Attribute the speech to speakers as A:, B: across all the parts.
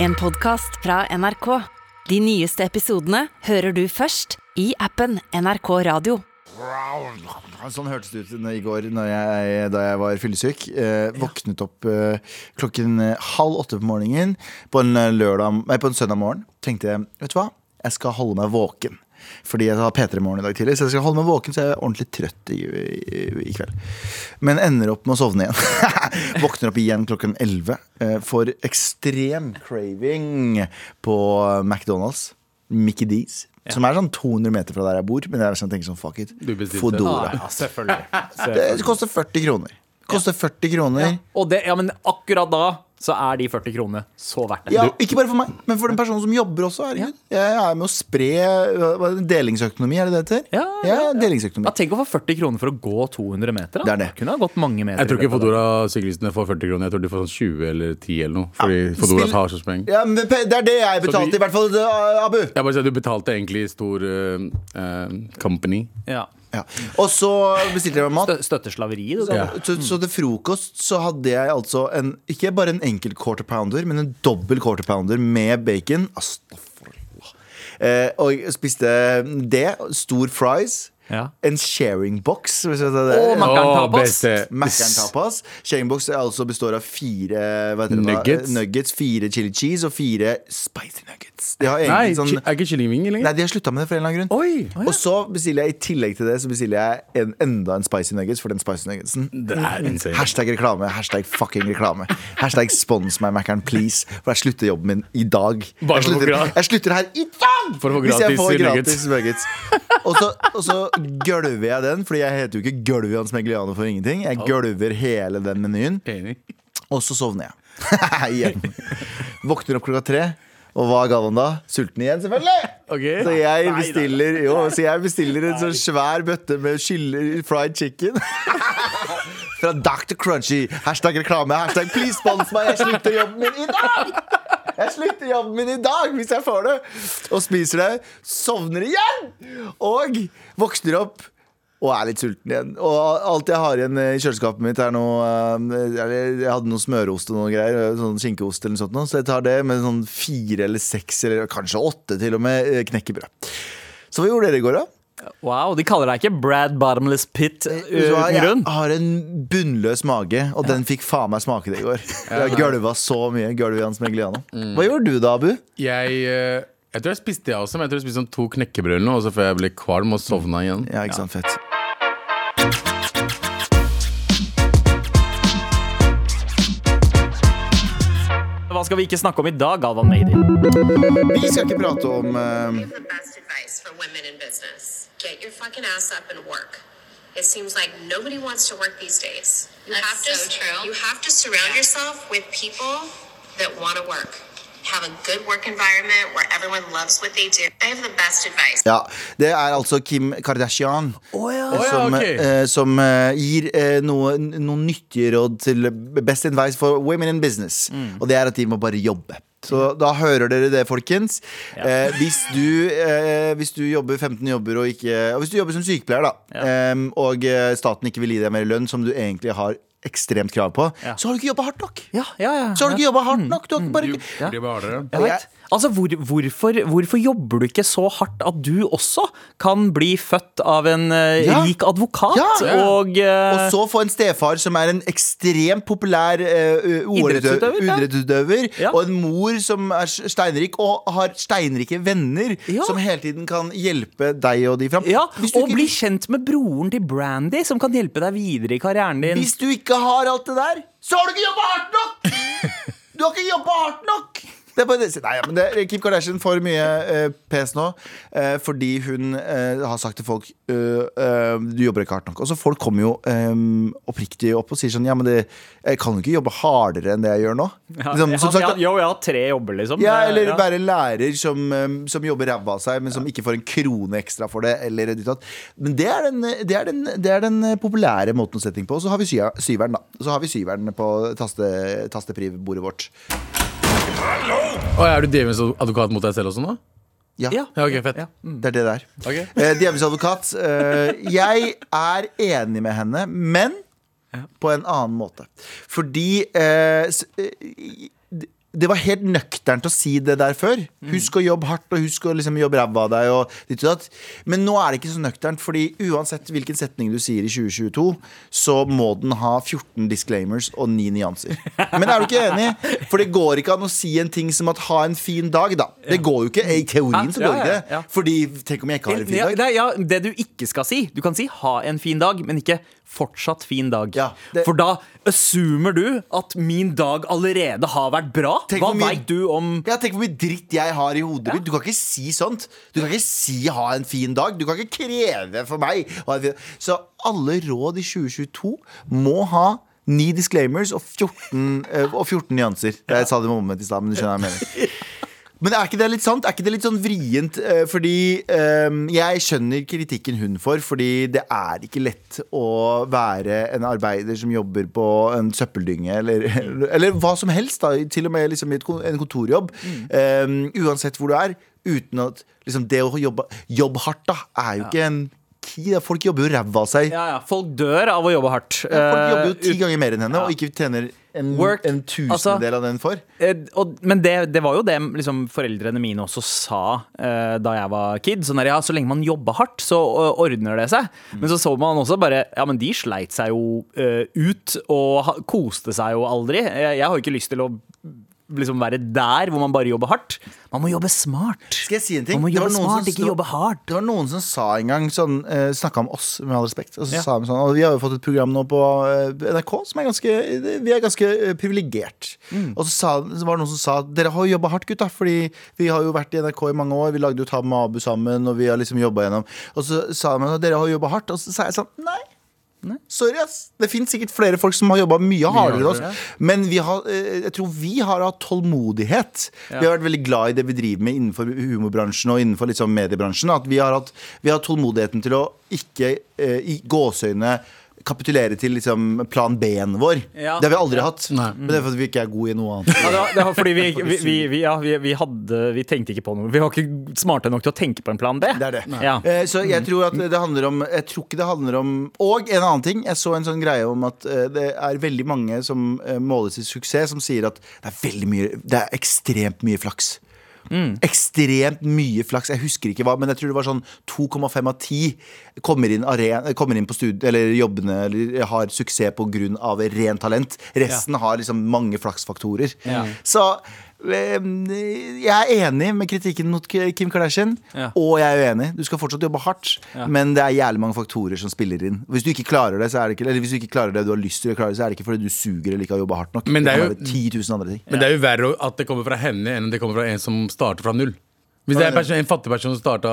A: En podcast fra NRK. De nyeste episodene hører du først i appen NRK Radio.
B: Sånn hørtes det ut når- i går når jeg, da jeg var fyllesyk. Eh, våknet opp eh, klokken eh, halv åtte på morgenen på en, eh, lørdag, nei, på en søndag morgen. Tenkte jeg, vet du hva, jeg skal holde meg våken. Fordi jeg har P3 Morgen i dag tidlig, så jeg skal holde meg våken. Så jeg er ordentlig trøtt i, i, i kveld. Men ender opp med å sovne igjen. Våkner opp igjen klokken 11. eh, Får ekstrem craving på eh, McDonald's. Mickey D's. Som er sånn 200 meter fra der jeg bor. Men jeg er sånn, tenker sånn, fuck it.
C: Du bestilte. Ah,
B: Fodora.
D: Ja, selvfølgelig.
B: Det koster 40 kroner. Koster 40 kroner. Ja.
D: Og det, ja, men akkurat da så er de 40 kronene så verdt det.
B: ikke bare for meg, men for den personen som jobber også. Herregud. Jeg er med å spre hva- hva- delingsøkonomi, er det det heter?
D: Ja, ja, ja. Ja,
B: delingsøkonomi.
D: tenk å få 40 kroner for å gå 200 meter. Da.
B: Det er det.
D: Kunne ha gått mange meter.
C: Jeg tror
D: i
C: ikke
D: løpet av det.
C: Fodora-syklistene får 40 kroner. Jeg tror de får sånn 20 eller 10 eller noe. Fordi Fodora
B: spill-
C: tar så spreng.
B: Ja, men det det er det jeg
C: Så
B: betalte,
C: du-
B: i hvert fall, eh, Abu.
C: Jeg bare sier at Du betalte egentlig i stor eh, eh, company.
D: Ja.
B: Ja. Og så bestilte jeg meg mat.
D: Stø- Støtter slaveriet, du.
B: Så, så, så til frokost så hadde jeg altså en, ikke bare en enkel quarter pounder, men en dobbel quarter pounder med bacon. Astagfirullah. Eh, og jeg spiste det. Stor fries.
D: Ja.
B: En sharing box. Hvis jeg tar det.
D: Og Mackeren
C: Åh,
D: tapas.
C: beste.
B: Mackeren tapas. Sharing box er altså består av fire hva heter det da?
C: Nuggets.
B: nuggets, fire chili cheese og fire spicy nuggets. De har
C: Nei,
B: egentlig
C: chi-
B: sånn
C: er ikke kyllingvinger
B: Nei,
C: lenger?
B: de har slutta med det for en eller annen grunn.
C: Oi!
B: Og så bestiller jeg i tillegg til det Så bestiller jeg en, enda en spicy nuggets for den spicy nuggetsen.
C: Det er insane.
B: Hashtag reklame, hashtag fucking reklame. Hashtag spons meg, Mackeren, please. For jeg slutter jobben min i dag.
C: Bare
B: Jeg
C: for å få
B: slutter,
C: gra-
B: jeg slutter her i dag!
C: For å få
B: Hvis jeg
C: gratis
B: får gratis
C: nuggets.
B: nuggets. Og så, og så gølver jeg den, Fordi jeg heter jo ikke Gølvian Smegliano for ingenting. Jeg gølver hele den menyen,
C: Enig.
B: og så sovner jeg. igjen. Våkner opp klokka tre. Og hva er Galvan da? Sulten igjen, selvfølgelig!
C: Ok.
B: Så jeg bestiller, jo, så jeg bestiller en sånn svær bøtte med chili- fried chicken. Fra Dr. Crunchy. Hashtag reklame. Hashtag please spons meg. Jeg slutter jobben min i dag! Jeg slutter jobben min i dag hvis jeg får det. Og spiser det. Sovner igjen! Og våkner opp. Og er litt sulten igjen. Og alt jeg har igjen i kjøleskapet mitt, er noe eh, eller Jeg hadde noe smørost og noe greier. eh, Sånn skinkeost eller noe sånt. nå, Så jeg tar det med sånn fire eller seks eller kanskje åtte til og med eh, knekkebrød. Så hva gjorde dere i går, da?
D: Wow, de kaller deg ikke Brad Bottomless Pit uh,
B: Eh, Vet du hva?
D: uten
B: Jeg
D: grunn.
B: har en bunnløs mage, og den fikk faen meg smake det i går. Jeg gølva så mye. Gølva Jans Megliano. Hva gjorde du da, Abu?
C: Jeg, eh, jeg tror jeg spiste jeg også, men jeg tror jeg spiste sånn to knekkebrød eller noe, og så før jeg ble kvalm og sovna igjen.
B: Ja, ikke sant, fett
D: Hva skal vi ikke snakke om i dag, Galvan Meidi?
B: Vi skal ikke prate om eh,
E: the best advice for women in business. Get your fucking ass up and work. It seems like nobody wants to work these days. You
F: That's
E: have to,
F: so true.
E: You have to surround yourself with people that want to work. Have a good work environment where everyone loves what they do. I have the best advice.
B: Ja, Det er altså Kim Kardashian
C: Å ja,
B: som,
C: ok.
B: eh, som eh, gir eh, noe, noen nyttige råd til best advice for women in business.
C: Mm.
B: Og det er at de må bare jobbe. Så da hører dere det, folkens. Eh, hvis, du, eh, hvis du jobber 15 jobber og ikke og Hvis du jobber som sykepleier, da, eh, og eh, staten ikke vil gi deg mer lønn som du egentlig har ekstremt krav på,
D: Ja.
B: så har du ikke jobba hardt nok.
D: Ja, ja, ja.
B: Så har du ikke jobba hardt nok. Du har ikke bare
C: Mm. Jo,
B: ikke
C: det var det.
D: Jeg vet. Altså, hvor, hvorfor, hvorfor jobber du ikke så hardt at du også kan bli født av en eh,
B: Ja.
D: rik advokat?
B: Ja, ja.
D: Og,
B: Og
D: eh,
B: så få en stefar som er en ekstremt populær eh, u-
D: Idrettsutøver, ja.
B: idrettsutøver.
D: Ja.
B: Og en mor som er s- steinrik og har steinrike venner
D: Ja.
B: som hele tiden kan hjelpe deg og de fram.
D: ja,
B: Hvis du
D: og
B: ikke-
D: bli kjent med broren til Brandy, som kan hjelpe deg videre i karrieren din.
B: Hvis du ikke har alt det der, så har du ikke jobba hardt nok! Du har ikke jobba hardt nok! Det er bare, det- nei, ja, men det, Kim Kardashian får mye eh, pes nå eh, fordi hun eh, har sagt til folk eh, eh, Du jobber ikke hardt nok. Og så folk kommer jo eh, oppriktig opp og sier sånn Ja, men det, jeg kan jo ikke jobbe hardere enn det jeg gjør nå.
D: Ja,
B: Liksom,
D: jeg,
B: som sagt,
D: jeg, jo, jeg har tre jobber, liksom.
B: ja, eller
D: Ja.
B: være lærer som, um, som jobber ræva av seg, men som ikke får en krone ekstra for det. Eller ditt og datt. Men det er, den, det, er den, det er den eh, populære måten å sette ting på. Og så har vi syv- syveren, da. Så har vi syveren på taste, tasteprivbordet vårt.
C: Å, er du djevelens advokat mot deg selv også nå?
B: Ja,
D: Ja.
C: Ja, ok, fett.
D: Ja.
B: det er det der.
C: Ok.
B: Eh, Djevelens advokat. eh, jeg er enig med henne, men på en annen måte. Fordi eh, s- eh, det var helt nøkternt å si det der før.
D: Mm.
B: Husk å jobbe hardt, og husk å liksom jobbe ræva av deg. Og ditt og datt. Men nå er det ikke så nøkternt, Fordi uansett hvilken setning du sier i 2022, så må den ha 14 disclaimers og 9 nyanser. Men er du ikke enig? For det går ikke an å si en ting som at 'ha en fin dag', da. Det går jo ikke. I teorien så
D: Ja,
B: går
D: Ah, ja,
B: ikke det.
D: ja.
B: Fordi tenk om jeg ikke har en fin
D: Ja,
B: dag?
D: nei, ja, det du ikke skal si. Du kan si 'ha en fin dag', men ikke 'fortsatt fin dag'.
B: Ja, det-
D: For da assumer du at min dag allerede har vært bra.
B: Tenk
D: Hva
B: hvor mye-
D: veit du om
B: Ja, Tenk hvor mye dritt jeg har i hodet mitt. Du kan ikke si sånt. Du kan ikke si 'ha en fin dag'. Du kan ikke kreve for meg å ha en fin Så alle råd i 2022 må ha ni disclaimers og 14, eh, og 14 nyanser. Jeg sa det med omvendt i stad, men du skjønner hva jeg mener. Men er ikke det litt sant? Er ikke det litt sånn vrient? Eh, Fordi ehm, jeg skjønner kritikken hun får, fordi det er ikke lett å være en arbeider som jobber på en søppeldynge, eller, eller hva som helst, da, til og med liksom i et kon- en kontorjobb,
D: Mm.
B: ehm, uansett hvor du er, uten at liksom, det å jobbe jobb hardt, da, er jo ikke en key. Da. Folk jobber jo ræva av seg.
D: Ja, ja, folk dør av å jobbe hardt.
B: Folk jobber jo
D: Eh,
B: ti
D: ut-
B: ganger mer enn henne, og ikke tjener en,
D: Work,
B: en
D: altså-
B: tusendel av den for.
D: Eh, og, men det, det var jo det liksom, foreldrene mine også sa eh, da jeg var kid. Sånn der, ja, så lenge man jobber hardt, så eh, ordner det seg.
B: Mm.
D: Men så så man også bare Ja, men de sleit seg jo eh, ut, og ha, koste seg jo aldri. Jeg, jeg har jo ikke lyst til å liksom være der hvor man bare jobber hardt. Man må jobbe smart.
B: Skal jeg si en ting?
D: Man må
B: Det var noen
D: jobbe
B: som
D: smart, ikke
B: stå-
D: jobbe hardt.
B: Det var noen som sa en gang sånn, eh, Snakka om oss, med all respekt. Og så
D: Ja.
B: sa de sånn, og vi har jo fått et program nå på eh, NRK som er ganske Vi er ganske eh, privilegert.
D: Mm.
B: Og så, sa, så var det noen som sa dere har jo jobba hardt, gutta. Fordi vi har jo vært i NRK i mange år. Vi lagde jo Tab med Abu sammen, og vi har liksom jobba gjennom. Og så sa de at dere har jobba hardt. Og så sa jeg sånn nei. Sorry, ass. Det fins sikkert flere folk som har jobba mye hardere enn oss. Men vi har, eh, jeg tror vi har hatt tålmodighet. Vi har vært veldig glad i det vi driver med innenfor humorbransjen og innenfor liksom mediebransjen. At vi har hatt vi har hatt tålmodigheten til å ikke eh, i gåseøyne kapitulere til liksom plan B-en vår.
D: Ja.
B: Det har vi aldri hatt.
C: Nei.
B: Men det er fordi vi ikke er gode i noe annet.
D: Ja, det, var, det var fordi vi, vi, vi, vi, ja, vi, vi hadde Vi tenkte ikke på noe. Vi var ikke smarte nok til å tenke på en plan B.
B: Det er det.
D: Ja.
B: Eh, Så jeg tror at det handler om Jeg tror ikke det handler om Og en annen ting. Jeg så en sånn greie om at eh, det er veldig mange som eh, måles i suksess, som sier at det er veldig mye Det er ekstremt mye flaks.
C: Mm.
B: Ekstremt mye flaks. Jeg husker ikke hva, men jeg tror det var sånn 2,5 av 10 kommer inn, arena, kommer inn på studie, eller jobbene eller har suksess pga. rent talent. Resten har liksom mange flaksfaktorer. Så eh, jeg er enig med kritikken mot K- Kim Kardashian,
D: Ja.
B: og jeg er uenig. Du skal fortsatt jobbe hardt, men det er jævlig mange faktorer som spiller inn. Hvis du ikke klarer det, så er det ikke Eller hvis du ikke klarer det du har lyst til å klare, så er det ikke fordi du suger eller ikke har jobba hardt nok.
C: Men det er
B: kan
C: jo-
B: være 10 000 andre ting.
C: Men det er jo verre at det kommer fra henne enn det kommer fra en som starter fra null. Hvis det er en, person, en fattig person som starta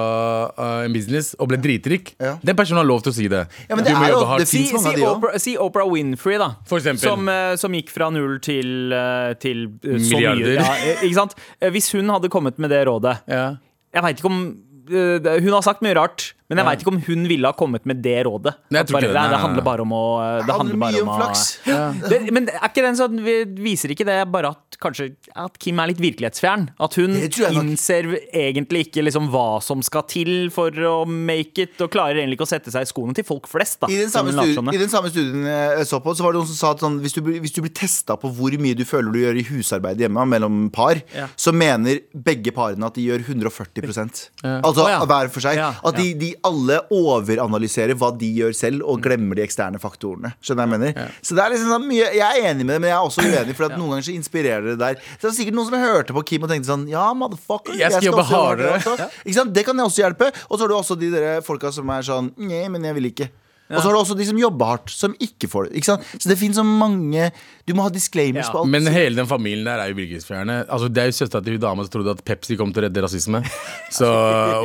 C: en business og ble dritrik,
B: Ja.
C: den personen har lov til å si det.
B: Ja, men
C: Du
B: det
C: må
B: er jo-
C: jobbe hardt.
B: det
D: Si,
B: finnes mange av
D: si,
B: de også.
D: Oprah, si Oprah Winfrey, da.
C: For eksempel.
D: som, eh, som gikk fra null til, eh, til eh, så
C: Milliarder.
D: mye. Ja, eh, ikke sant? Eh, Hvis hun hadde kommet med det rådet
C: Ja.
D: Jeg vet ikke om eh, det- Hun har sagt mye rart, men jeg vet ikke om hun ville ha kommet med det rådet.
C: Nei, jeg
D: At
C: tror ikke
D: bare,
C: det.
D: nei,
C: Nei,
D: det
C: nei,
D: handler
C: nei.
D: bare om å eh, Det handler bare
B: mye om
D: om å-
B: flaks.
D: Det, men er ikke den sånn, vi- viser ikke det bare at kanskje at Kim er litt virkelighetsfjern? At hun
B: Det tror jeg nok.
D: innser egentlig ikke liksom hva som skal til for å make it, og klarer egentlig ikke å sette seg i skoene til folk flest. da
B: I den,
D: som
B: samme
D: hun later som
B: studien,
D: det.
B: I den samme studien jeg så på, så var det noen som sa at sånn, hvis du, blir- hvis du blir testa på hvor mye du føler du gjør i husarbeid hjemme mellom par,
D: Ja.
B: så mener begge parene at de gjør 140 Altså
D: Å, ja.
B: hver for seg.
D: Ja,
B: At de, de alle overanalyserer hva de gjør selv, og glemmer de eksterne faktorene. Skjønner du hva jeg mener? Så det er liksom sånn mye Jeg er enig med det, men jeg er også uenig, for at noen ganger så inspirerer det der. Så det er sikkert noen som hørte på Kim og tenkte sånn Ja, motherfucker.
C: Jeg skal jobbe
B: også gjøre
C: hardere.
B: det også. Ikke sant? Det kan jeg også hjelpe. Og så har du også de der folka som er sånn Nei, men jeg vil ikke. Og så har du også de som jobber hardt, som ikke får det. Ikke sant? Så det finnes så mange Du må ha disclaimers
D: Ja.
B: på alt.
C: Men hele den familien der er jo virkelighetsfjerne. Altså, det er jo søstera til hun dama som trodde at Pepsi kom til å redde rasisme. Så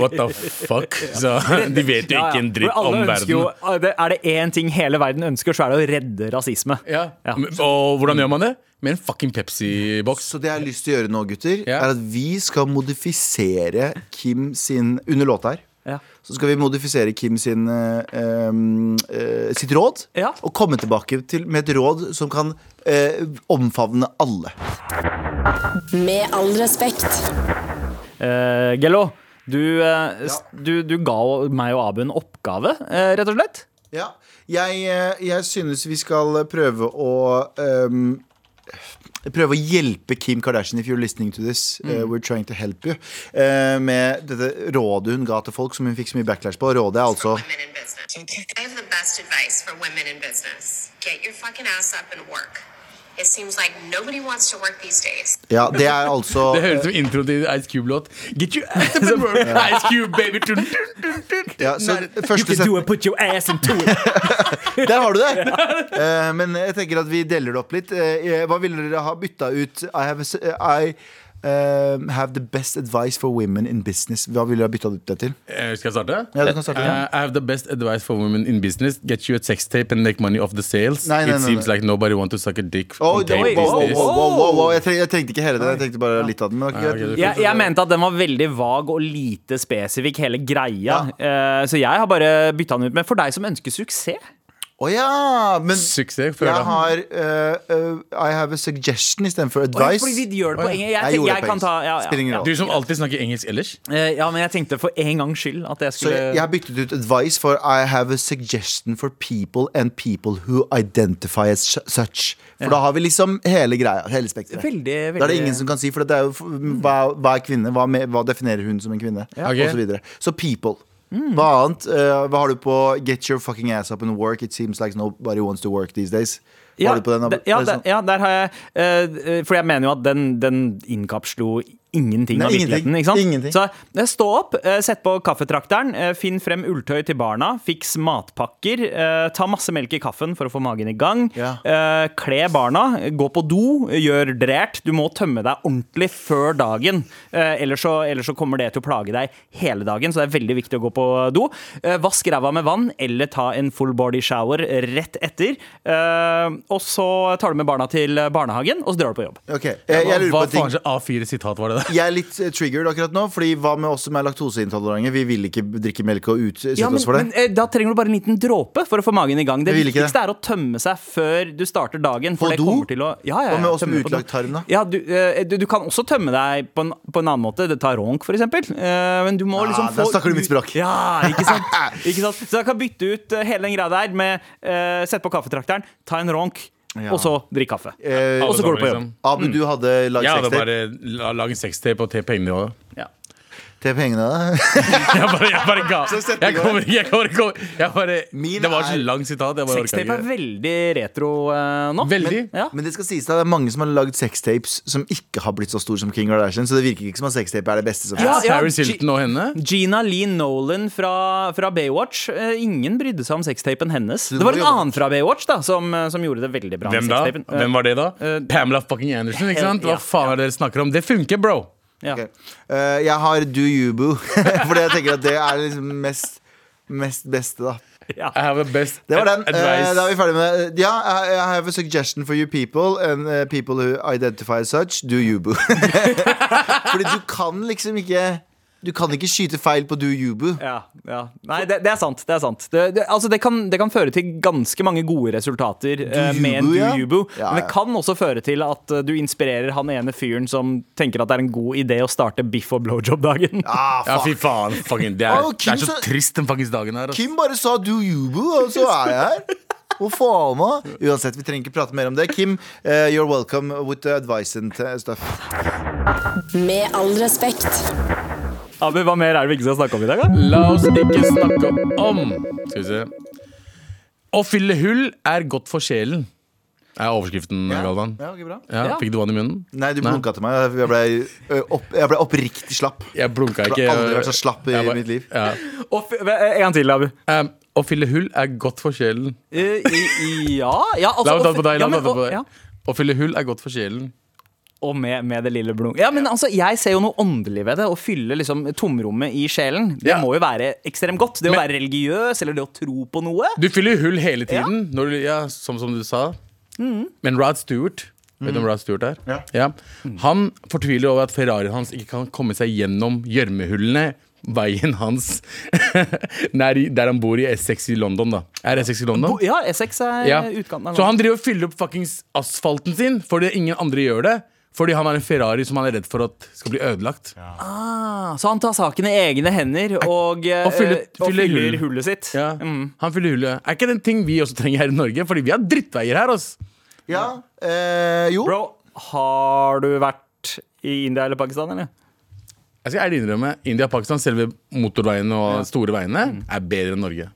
C: what the fuck? Så, de vet jo
D: Ja, ja.
C: ikke en dritt
D: For alle
C: om
D: ønsker jo-
C: verden.
D: Er det én ting hele verden ønsker, så er det å redde rasisme.
C: Ja.
D: Ja.
C: Og hvordan gjør man det? Med en fucking Pepsi-boks.
B: Så det jeg har lyst til å gjøre nå, gutter,
C: Ja.
B: er at vi skal modifisere Kim sin Under låta her.
D: Ja.
B: Så skal vi modifisere Kim sin, eh, em, eh, sitt råd,
D: Ja.
B: og komme tilbake til, med et råd som kan eh, omfavne alle.
F: Med all respekt.
D: Eh, Gello, du, eh, s- du, du ga jo meg og Abu en oppgave, eh, rett og slett.
B: Ja. Jeg, eh, jeg synes vi skal prøve å ehm, prøve å hjelpe Kim Kardashian if you're listening to this.
D: Mm.
B: eh, we're trying to help you. eh, med dette rådet hun ga til folk, som hun fikk så mye backlash på. Rådet er altså
E: for women in business. I have the best advice for women in business. Get your fucking ass up and work. It seems like nobody wants to work these days.
B: Ja, det er altså
C: Det høres ut som intro til Ice Cube-låt. Get your ass up and work, Ice Cube, baby! Dun, dun, dun, dun.
B: ja, så første set-
D: Do it, put your ass into it.
B: Der har du det! Eh, men jeg tenker at vi deler det opp litt. Eh, hva ville dere ha bytta ut? I have, a s- eh, I, eh, have the best advice for women in business. Hva ville dere ha bytta ut det til?
C: Eh, Skal jeg starte?
B: Ja, du kan starte.
C: Eh, I have the best advice for women in business. Get you a sex tape and make money off the sales.
B: Nei, nei,
C: It
B: nei,
C: seems
B: nei.
C: like nobody wants to suck a dick
B: Oh,
C: on tape
B: wow,
C: these
B: wow,
C: days.
B: wow, wow, wow, wow. Jeg, treng, jeg trengte ikke hele den, jeg tenkte bare litt av den. Men det var
C: Nei, ok,
B: ikke
C: du-
B: greit.
D: Jeg, jeg mente at den var veldig vag og lite spesifikk, hele greia. Eh, så jeg har bare bytta den ut med for deg som ønsker suksess.
B: Å ja! Men
C: Suksess. føler
B: jeg
C: jeg.
B: har eh, eh, I have a suggestion istedenfor advice.
D: Fordi de gjør
C: Å,
D: det på
C: ja.
D: engelsk. Jeg,
B: Jeg
D: tenker-
B: gjorde
D: jeg
B: det på
D: kan
B: engelsk.
D: ta ja,
B: Spiller ingen
D: ja, ja.
B: rolle.
C: Du som alltid snakker engelsk ellers.
D: Eh, ja, men jeg tenkte for en gangs skyld at jeg
B: Så
D: skulle
B: jeg, jeg har byttet ut advice for I have a suggestion for people and people who identify as su- such. For da har vi liksom hele greia. Hele spekteret.
D: Veldig,
B: Da er det
D: veldig-
B: ingen som kan si, for det er jo f- hva, hva er kvinne? Hva, me- hva definerer hun som en kvinne?
C: Ok.
B: Og så, videre. så people.
D: Mm.
B: Hva annet? Eh, hva har du på Get your fucking ass up and work? It seems like nobody wants to work these days. Hva
D: ja,
B: har du på den?
D: de- ja,
B: sånn?
D: der, ja, der har jeg eh, For jeg mener jo at den, den innkapslo ingenting
B: Nei,
D: av virkeligheten.
B: ingenting.
D: Ikke sant?
B: Ingenting.
D: Så eh, stå opp, eh, sett på kaffetrakteren, eh, finn frem ulltøy til barna, fiks matpakker, eh, ta masse melk i kaffen for å få magen i gang,
B: Ja.
D: eh, kle barna, gå på do, gjør drært. Du må tømme deg ordentlig før dagen, eh, ellers, så, ellers så kommer det til å plage deg hele dagen, så det er veldig viktig å gå på do. Eh, Vask ræva med vann, eller ta en full body shower rett etter. Eh, Og så tar du med barna til barnehagen, og så drar du på jobb.
B: Ok, jeg, jeg lurer på
C: Hva
B: en ting.
C: faen slags A4-sitat var det der?
B: jeg er litt eh, triggered akkurat nå, Fordi hva med oss som er laktoseintolerante? Vi vil ikke drikke melk og utsette
D: Ja, men,
B: oss for det.
D: men eh, Da trenger du bare en liten dråpe for å få magen i gang. Det
B: Jeg vil ikke
D: viktigste er å tømme seg før du starter dagen. For
B: På
D: det
B: do?
D: kommer til å ja, ja, ja,
B: Hva med oss
D: tømme
B: med
D: på do.
B: utlagt tarm, da?
D: Ja, du, eh, du, du kan også tømme deg på en, på en annen måte. Det tar ronk, for eksempel. Eh, men du må
B: Ja,
D: liksom
B: der
D: få
B: snakker du mitt
D: ut-
B: språk.
D: Ja, ikke sant? ikke sant? Så jeg kan bytte ut eh, hele den greia der med uh, sette på kaffetrakteren, ta en ronk,
B: Ja.
D: og så drikk kaffe.
B: Eh,
D: og så går du på
C: Liksom.
D: jobb.
B: Abu, du hadde lagd
C: Jeg hadde
B: sextape
C: bare la- lag en sextape og te pengene av det.
D: Ja.
B: til pengene.
C: Jeg bare, jeg bare ga
B: Så setter
C: Jeg
B: vi i
C: kommer ikke, jeg kommer ikke jeg bare,
B: Min
C: Det var så
B: er-
C: langt sitat. Jeg bare orka
D: Sextape er
C: ikke.
D: veldig retro eh, nå.
C: Veldig.
D: Ja.
B: Men det skal sies at det er mange som har lagd sextapes som ikke har blitt så stor som King Kardashian, så det virker ikke som at sextape er det beste som
D: Ja,
B: finnes.
C: Paris
D: G-
C: Hilton og henne.
D: Gina Lee Nolan fra, fra Baywatch. Eh, ingen brydde seg om sextapen hennes.
B: Du
D: Det
B: må
D: var en
B: jobbe.
D: annen fra Baywatch da som, eh, som gjorde det veldig bra.
C: Hvem
D: med
C: da?
D: sextapen. Eh,
C: Hvem var det da?
D: eh,
C: Pamela fucking Anderson, ikke sant? Hva
D: ja,
C: faen er det dere snakker om? Det funker, bro!
D: ja.
B: Ok. Eh, jeg har Do You Boo, fordi jeg tenker at det er liksom mest, mest beste, da.
C: I have a best
B: Det var den. Eh,
C: advice.
B: da er vi ferdig med det. Ja, I, I have a suggestion for you people and eh, people who identify as such. Do you boo. Fordi du kan liksom ikke Du kan ikke skyte feil på do you boo.
D: Ja, ja. Nei, det, det er sant. Det, er sant. Det, det, altså, det, kan, det kan føre til ganske mange gode resultater eh,
B: you
D: med en
B: boo,
D: do
B: ja.
D: you boo.
B: Ja,
D: Men
B: ja.
D: det kan også føre til at eh, du inspirerer han ene fyren som tenker at det er en god idé å starte biff og blowjob-dagen.
B: Ah,
C: Ja, fy
B: fuck.
C: faen. Fucking, det, er,
B: Å,
C: det
B: Kim
C: er så
B: sa-
C: trist den fuckings dagen her. altså. ass.
B: Kim bare sa do you boo, og så er jeg her. Hva faen, da? Uansett, vi trenger ikke prate mer om det. Kim, eh, you're welcome with the advice and eh, stuff.
F: Med all respekt.
D: Abu, hva mer er det vi ikke skal snakke om i dag? da?
C: La oss ikke snakke om Skal vi se. Å fylle hull er godt for sjelen. Er overskriften, Galvan.
B: Ja, ok, bra.
C: Ja,
D: Ja.
C: Fikk du vann i munnen?
B: Nei, du blunka til meg. Jeg ble, ø, opp, jeg ble oppriktig slapp.
C: Jeg blunka
B: Jeg
C: ikke.
B: har aldri vært så slapp i
C: Jeg bare-
B: mitt liv.
C: Ja.
D: Og f- eh, en gang til, Abu.
C: Um, å fylle hull er godt for sjelen.
D: Eh, i- i- ja, ja altså,
C: La meg ta
D: og-
C: det på deg.
D: ja,
C: La meg
D: men-
C: ta det på
D: og- ja.
C: deg. Å fylle hull er godt for sjelen.
D: Og med, med det lille blunk. Ja, men altså, Jeg ser jo noe åndelig ved det. Å fylle liksom tomrommet i sjelen. Det
C: Ja.
D: må jo være ekstremt godt. Det å
C: Men-
D: være religiøs eller det å tro på noe.
C: Du fyller jo hull hele tiden, når du, ja, som, som du sa. Men Rod Stewart Vet du om Rod Stewart er?
B: Ja.
C: Han fortviler over at Ferrarien hans ikke kan komme seg gjennom gjørmehullene. Veien hans nær, i- der han bor i Essex i London, da. Er Essex i London?
D: Bo- Ja, E6 er
C: Ja.
D: eh, utkanten av
C: Så han driver og fyller opp fuckings asfalten sin fordi ingen andre gjør det. Fordi han har en Ferrari som han er redd for at skal bli ødelagt.
D: landet. Så han tar saken i egne hender og, eh,
C: Og fyller-
D: og
C: fyller
D: fyller
C: hull.
D: hullet sitt.
C: Ja. Han fyller hullet. Er ikke det en ting vi også trenger her i Norge? Fordi vi har drittveier her. ass
B: Ja, eh, jo.
D: Bro, Har du vært i India eller Pakistan, eller?
C: Jeg skal ærlig innrømme India og Pakistan, selve motorveiene og store veiene,
D: Mm.
C: er bedre enn Norge.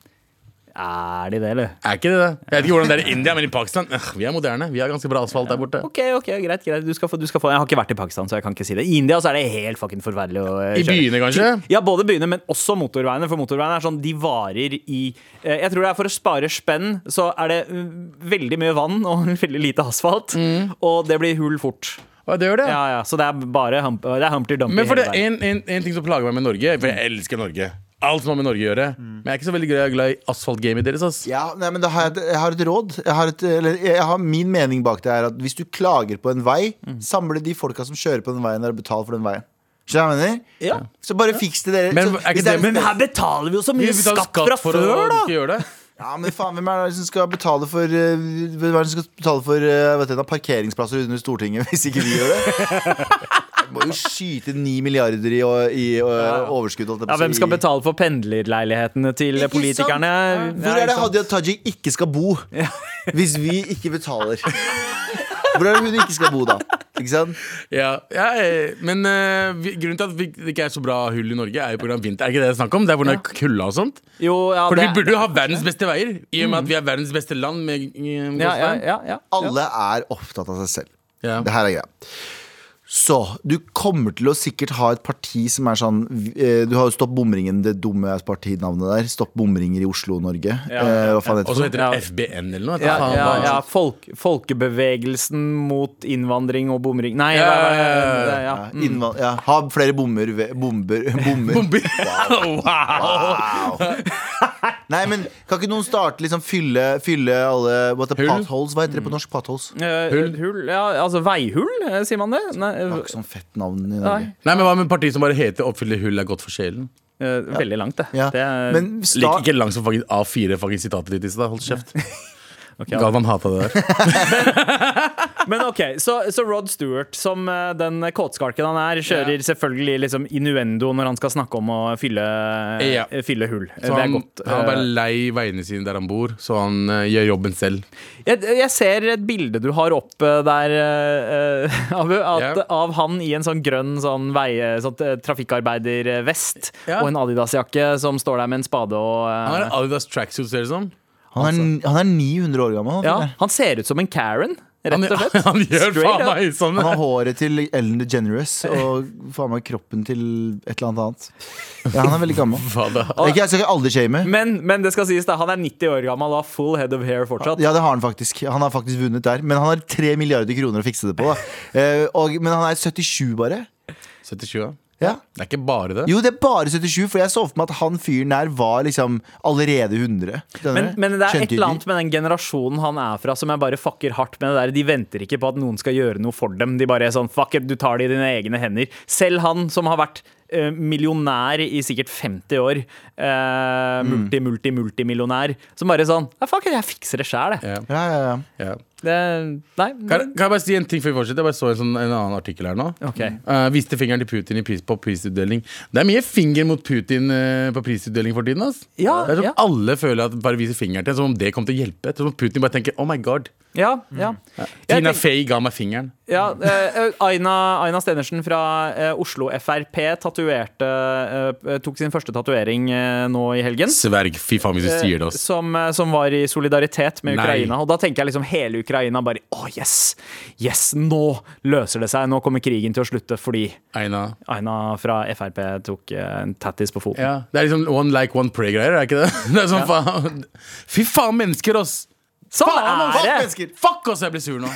D: Er de det, eller?
C: Er ikke det det? Jeg vet ikke hvordan det er i India, men i Pakistan øh, Vi er moderne. Vi har ganske bra asfalt der borte.
D: Ok, ok, greit, greit. Du skal få, du skal få. Jeg har ikke vært i Pakistan, så jeg kan ikke si det. I India så er det helt fucking forferdelig å eh,
C: I
D: kjøre.
C: byene, kanskje?
D: Ja, både byene, men også motorveiene. For motorveiene er sånn, de varer i eh, Jeg tror det er for å spare spenn, så er det mm, veldig mye vann og veldig lite asfalt.
C: Mm.
D: Og det blir hull fort.
C: Å, det gjør det.
D: Ja, ja, Så det er bare hump, det er humpty dumpty.
C: Men for det
D: hele
C: er
D: veien.
C: en, en, en ting som plager meg med Norge, for jeg elsker Norge. Alt som har med Norge å gjøre.
D: Mm.
C: Men jeg er ikke så veldig glad glad i asfaltgamet deres. ass
B: Ja, nei, men da har jeg, et- jeg har et råd. Jeg har, et, eller, jeg har Min mening bak det er at hvis du klager på en vei, samle de folka som kjører på den veien, der og betal for den veien. Skjønner du hva jeg mener?
D: Ja.
B: Så bare fiks det, dere.
C: Men
B: så,
C: er ikke
B: hvis
C: det-
B: er-
D: Men her betaler vi jo så
C: Vi
D: mye
C: betaler
D: skatt, fra
C: for
D: før,
C: å
D: da!
C: ikke gjøre det.
B: Ja, men faen, hvem er det som skal betale for eh, Hvem er det som skal betale for eh, vet du, da, parkeringsplasser under Stortinget hvis ikke vi gjør det? Vi må jo skyte ni milliarder i, i, eh, overskudd. holdt jeg på
D: Ja,
B: å
D: Hvem
B: si.
D: skal betale for pendlerleilighetene til
B: Ikke sant?
D: politikerne?
B: Hvor er det Hadia Tajik ikke skal bo hvis vi ikke betaler? Hvor er det hun ikke skal bo, da? Ikke sant?
C: Ja, ja, eh, Men eh, vi- grunnen til at vi- det ikke er så bra hull i Norge, er jo pga. vinter. Er ikke det det er snakk om? Det er pga. kulda og sånt.
D: Jo, ja,
C: For
D: det- Mm.
C: vi burde jo ha verdens beste veier, i og med at vi er verdens beste land. Med, eh,
D: ja, ja,
C: Gåstein.
D: ja, ja.
B: Alle er opptatt av seg selv.
C: Ja.
B: Det her er greia. Så du kommer til å sikkert ha et parti som er sånn eh, Du har jo Stopp bomringen, det dumme partinavnet der. Stopp bomringer i Oslo og Norge. Eh, hva faen
C: Og
B: heter
C: så
B: det?
C: heter det FBN eller noe.
D: Ja,
C: Faen,
D: ja,
C: hva-
D: ja folk, folkebevegelsen mot innvandring og bomring Nei,
C: Ja,
D: hva- hva-
C: ja, ja,
D: det- ja.
B: Ja, innvand- ja, ha flere bommer ved- Bomber. bomber.
C: Bomber. wow.
B: Nei, men kan ikke noen starte liksom fylle, fylle alle what the
C: Hull?
B: potholes? Hva heter det på norsk? Potholes? Det
D: Eh, Hull. ja, altså veihull, eh, sier man det? Nei, eh,
B: var ikke sånn fett navn i Norge.
D: nei.
C: Nei, men Hva med partiet som bare heter 'Oppfylle hull er godt for sjelen'?
D: Eh, Veldig langt, det.
B: Ja.
D: det er,
B: Men
C: Like
B: start
C: ikke langt som fucking A4 fucking sitatet ditt i stad. Hold kjeft.
D: ja.
C: Galvan hata det der.
D: Men ok, så, så Rod Stewart, som eh, den kåtskalken han er, kjører selvfølgelig liksom innuendo når han skal snakke om å fylle,
C: Ja.
D: eh, fylle hull. Eh,
C: Så
D: det er
C: han,
D: godt.
C: Sånn, han er
D: Eh,
C: bare lei veiene sine der han bor, så han eh, gjør jobben selv.
D: Jeg, jeg ser et bilde du har opp eh, der, eh, Abu, at,
C: Ja.
D: av han i en sånn grønn sånn vei, sånn, eh, trafikkarbeidervest
C: Ja.
D: og en Adidas-jakke som står der med en spade og
C: Han
D: eh,
C: har Adidas tracksuit, ser det ut som.
B: han, er- han er 900 år gammel. Han,
D: ja,
B: fyren der.
D: Han ser ut som en Karen,
C: Han,
D: rett og slett.
C: han gjør
D: Straight
C: faen
D: up.
C: meg sånn.
B: han har håret til Ellen DeGeneres og faen meg kroppen til et eller annet annet. Ja, han er veldig gammel.
C: Hva da?
B: Det er ikke, jeg skal ikke aldersshame.
D: Men, men det skal sies da, han er 90 år gammel og har full head of hair fortsatt.
B: Ja, det har han faktisk. Han har faktisk vunnet der. Men han har tre milliarder kroner å fikse det på. da. Eh, og, men han er 77 bare.
C: 77, ja.
B: Ja.
C: Det er ikke bare det.
B: Jo, det er bare 77, for jeg så for meg at han fyren der var liksom allerede 100. Skjønner
D: Men,
B: du?
D: men det er
B: Skjønte
D: et
B: du?
D: eller annet med den generasjonen han er fra som jeg bare fucker hardt med. det der De venter ikke på at noen skal gjøre noe for dem. De bare er sånn fuck it, du tar det i dine egne hender. Selv han som har vært eh, millionær i sikkert 50 år, eh, multi, multi, multimillionær, som bare er sånn ja, fuck it, jeg fikser det sjæl, jeg.
C: Ja,
B: Ja, ja, ja.
C: ja.
D: Det, nei.
C: Kan, kan jeg bare si en ting før vi fortsetter? Jeg bare så en, sånn, en annen artikkel her nå.
D: Ok.
C: Eh, viste fingeren til Putin i pris, på prisutdeling. Det er mye finger mot Putin eh, på prisutdeling for tiden. Ass.
D: Ja,
C: det er som
D: ja.
C: alle føler at bare viser fingeren til, som om det kommer til å hjelpe. Som om Putin bare tenker 'oh my god'.
D: Ja, ja. Jeg
C: Tina
D: tenker-
C: Fey ga meg fingeren.
D: Ja, eh, Aina, Aina Stenersen fra eh, Oslo Frp tatuerte, eh, tok sin første tatovering eh, nå i helgen.
C: Sverg, fy faen hvis du sier det,
D: Eh,
C: ass.
D: Som, eh, som var i solidaritet med
C: Nei.
D: Ukraina. Og da tenker jeg liksom hele Ukraina bare Å, yes! Yes, nå løser det seg! Nå kommer krigen til å slutte fordi
C: Aina.
D: Aina fra Frp tok eh, en tattis på foten.
C: Ja, det er liksom one like, one pray-greier, er ikke det? Det er sånn faen Fy faen, mennesker, ass!
D: Sånn
C: Faen, ass!
D: er det!
B: mennesker!
C: Fuck oss, jeg blir sur nå.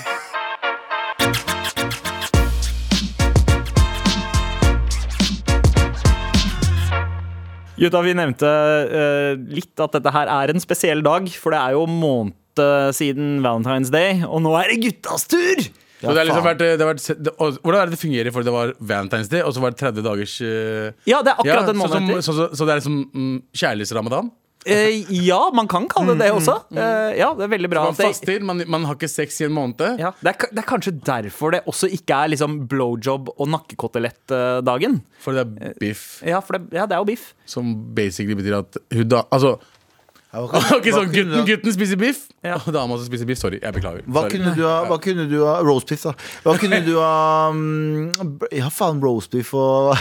D: Jutta, vi nevnte eh, litt at dette her er en spesiell dag, for det er jo måned eh, siden Valentine's Day, og nå er det guttas tur!
C: Så det har liksom
B: faen.
C: vært, det har vært det, og, Hvordan er det det fungerer for det var Valentine's Day, og så var det 30 dagers eh,
D: Ja, det er akkurat en måned
C: så, som-
D: etter.
C: så, så, så det er liksom mm, kjærlighetsramadan?
D: Eh, ja, man kan kalle
C: Mm,
D: det det også. Eh, ja, det er veldig bra.
C: Man
D: at det-
C: faster, man, man har ikke sex i en måned.
D: Ja, det, er, ka- det er kanskje derfor det også ikke er liksom blowjob og nakkekotelettdagen.
C: For det er biff,
D: Ja, for det, ja, det er jo biff.
C: som basically betyr at hun da Altså, Ok,
B: Hva
C: så
B: kunne du
C: gutten,
B: ha-
C: gutten spiser biff,
D: Ja.
C: og dama som spiser biff. Sorry, jeg beklager.
B: Hva
C: Sorry.
B: kunne du ha? Hva kunne du ha roastbiff, da. Hva kunne du ha mm, Ja, faen, roastbiff og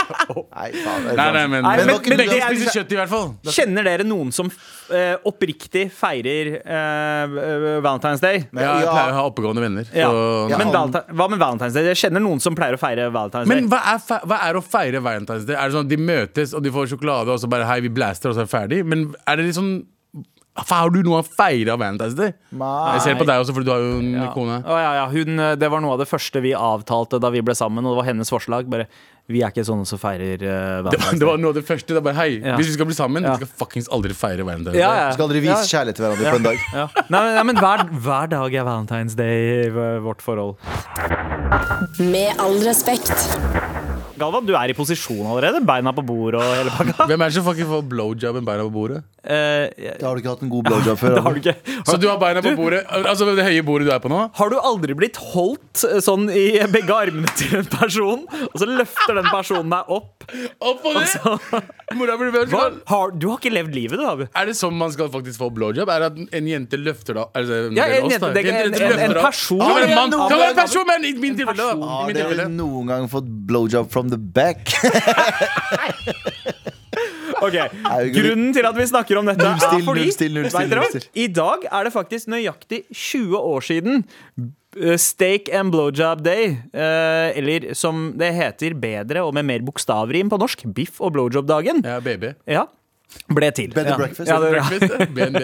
B: Nei, faen. det er
C: Nei, nei,
B: vanskelig.
C: men,
D: Nei,
C: men,
B: men- men
C: begge
B: det er-
C: spiser kjøtt, i hvert fall.
D: Kjenner dere noen som eh, oppriktig feirer eh, Valentine's Day?
C: Ja, jeg
B: Ja.
C: pleier å ha oppegående venner. Så,
D: Ja.
B: Ja.
D: Men valenti- hva med Valentine's Day? Jeg kjenner noen som pleier å feire Valentine's
C: Men
D: Day.
C: hva er, fe- hva er å feire Valentine's Day? Er det sånn at de møtes og de får sjokolade og så bare hei, vi blaster og så er det ferdig? Men er det litt sånn Har du noe å feire av Valentine's Day?
B: Nei.
C: Jeg ser på deg også, for du har jo en kone.
D: Å, ja, ja. Hun, eh, det var noe av det første vi avtalte da vi ble sammen, og det var hennes forslag. Bare, vi er ikke sånne som feirer eh,
C: Det var,
D: Valentine's
C: det var
D: Day.
C: noe av det første. Det er bare, hei,
D: Ja.
C: Hvis vi skal bli sammen,
D: Ja.
C: vi skal fuckings aldri feire Valentine's Day.
D: Ja, ja.
B: Du skal aldri vise kjærlighet til hverandre på en dag.
D: Ja. Nei, men- nei, men hver, hver dag er Valentine's Day i v- vårt forhold.
F: Med all respekt.
D: Galvan, du er i posisjon allerede. Beina på bordet og hele pakka.
C: Hvem er det som fucking får blowjob med beina på bordet?
D: Eh,
B: Da har du ikke hatt en god blowjob før.
D: det har du
B: Abu.
D: ikke.
C: Så du har beina på bordet, altså det høye bordet du er på nå?
D: Har du aldri blitt holdt eh, sånn i begge armene til en person, og så løfter den personen deg opp?
C: Opp på det! Mora blir
D: Altså- Hva?
C: veldig
D: Har, du har ikke levd livet, du, Abu.
C: Er det sånn man skal faktisk få blowjob? Er det at en jente løfter deg altså,
D: Ja,
C: det er oss,
D: en jente-
C: da.
D: det er en-
C: jente løfter
D: en- en
C: deg opp.
D: person.
C: Det kan være en mann,
B: Ja,
C: det kan være en
B: noen-
C: person, men i min tilfelle da. I
B: Har
C: mitt
B: dere
C: tilfelle.
B: noen gang fått blowjob from the back?
D: Ok,
B: Herregud.
D: Grunnen til at vi snakker om dette,
B: Nullstill,
D: er fordi
B: nullstill, nullstill,
D: Vet dere hva?
B: nullstill.
D: I dag er det faktisk nøyaktig 20 år siden eh, Steak and blowjob day, eh, eller som det heter bedre og med mer bokstavrim på norsk, biff og blowjob-dagen,
C: Ja, baby.
D: ja, ble til.
B: Bed and
D: ja.
B: breakfast.
D: Ja, det, ja.
C: Breakfast, BNB.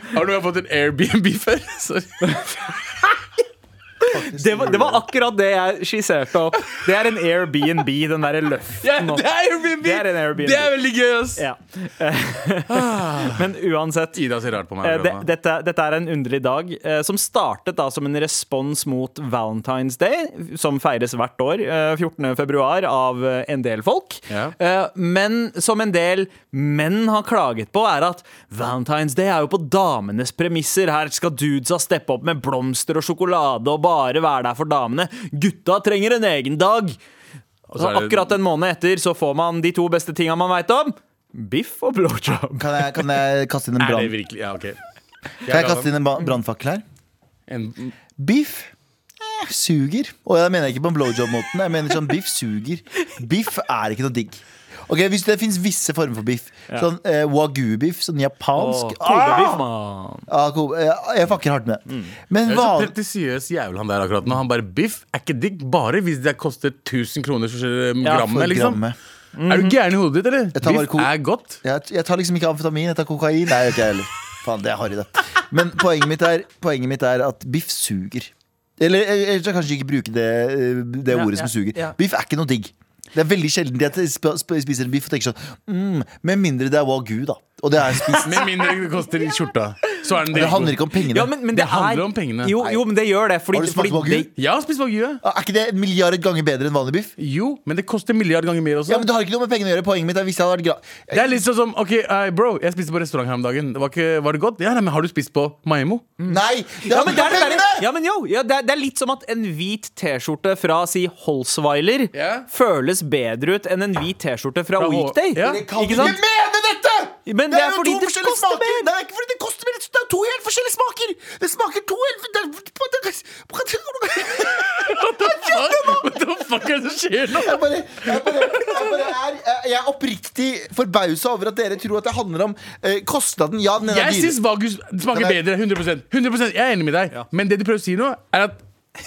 C: Har du fått en Airbnb før? Sorry.
D: Det, var, det var akkurat det jeg skisserte opp. Det er en Airbnb, den derre
C: Ja,
D: løften
C: det er Airbnb!
D: Det er en Airbnb.
C: Det er veldig gøy, ass!
D: Ja. Eh, Men uansett,
C: Ida ser rart på meg.
D: Eh, det,
C: akkurat nå.
D: dette, dette er en underlig dag, eh, som startet da som en respons mot Valentine's Day, som feires hvert år, eh, 14. februar, av eh, en del folk.
C: Ja.
D: Eh, men som en del menn har klaget på, er at Valentine's Day er jo på damenes premisser. Her skal dudesa steppe opp med blomster og sjokolade og bare være der for damene. Gutta trenger en egen dag. Og
C: så er det-
D: akkurat en måned etter så får man de to beste tinga man veit om. Biff og blowjob.
B: Kan jeg, kan jeg kaste inn en
C: Er det
B: brann-
C: virkelig? Ja, ok.
B: kan jeg kaste inn en ba- brannfakkel her?
C: En,
B: Biff eh, suger. Og jeg mener ikke på blowjob-måten. Jeg mener sånn, Biff suger. Biff er ikke noe digg. Ok, Hvis det fins visse former for biff, sånn eh, wagyu-biff, sånn japansk
D: Kobebiff, mann.
B: Ah, ko- eh, Jeg fucker hardt med det. Men
C: Mm. Jeg er så
B: van...
C: pretensiøs jævel han der akkurat nå. Han bare biff er ikke digg, bare hvis det koster 1000 kroner for
D: Ja, for
C: grammet. Liksom.
B: grammet.
C: Er du gæren i hodet ditt, eller?
B: tar bare
C: Biff
B: ko-
C: er godt.
B: Jeg, jeg tar liksom ikke amfetamin, jeg tar kokain. Nei, jeg gjør ikke jeg heller. Faen, det er harry, det. Men poenget mitt er, poenget mitt er at biff suger. Eller eh, jeg skal kanskje ikke bruke det, eh, det
D: Ja,
B: ordet
D: ja,
B: som suger.
D: ja.
B: Biff er ikke noe digg. Det er veldig sjelden at jeg sp- sp- spiser en biff og tenker sånn mm, Med mindre det er wagyu, da. Og det er spist.
C: Med mindre det koster i skjorta. Så er den
B: Det
C: dritgod.
B: handler ikke om pengene.
D: Ja, men, men det,
C: Det handler
D: er,
C: om pengene.
D: Jo, jo, men det gjør det. Fordi,
B: Har du smakt
D: fordi
B: wagyu?
D: det-
C: Jeg har spist wagyu. jeg.
B: Ah, Er ikke det en milliard ganger bedre enn vanlig biff?
C: Jo, men det koster en milliard ganger mer også.
B: Ja, men Det har ikke noe med pengene å gjøre. Poenget mitt er hvis jeg hadde vært gra...
C: Det er litt sånn som OK, eh, bro, jeg spiste på restaurant her om dagen. Det var, ikke, var det godt? Ja, nei, men har du spist på Maemmo?
B: Nei! Det
D: Mm. Ja,
B: har ikke noe med
D: men det er, det, der-
B: pengene!
D: ja, men jo, ja, det, er, det er litt som at en hvit T-skjorte fra si Holsweiler
C: Ja.
D: føles bedre ut enn en hvit T-skjorte fra,
C: Fra H-
D: Weekday.
C: Ja.
B: Jeg kan
D: Ikke
B: ikke
D: sant?
B: mene dette!
D: Men det er
B: jo
D: fordi
B: to
D: det
B: forskjellige
D: koster
B: smaker.
D: mer.
B: Det er ikke fordi det koster mer, det er to helt forskjellige smaker! Det smaker to helt det er-
C: What the fuck er det som skjer nå?
B: Jeg bare, jeg bare, jeg bare er, jeg er oppriktig forbausa over at dere tror at det handler om eh, kostnaden. Ja, den er
C: Jeg
B: dyre.
C: syns Vagu smaker
B: Den er-
C: bedre. 100%, 100% Jeg er enig med deg. Men det de prøver å si nå, er at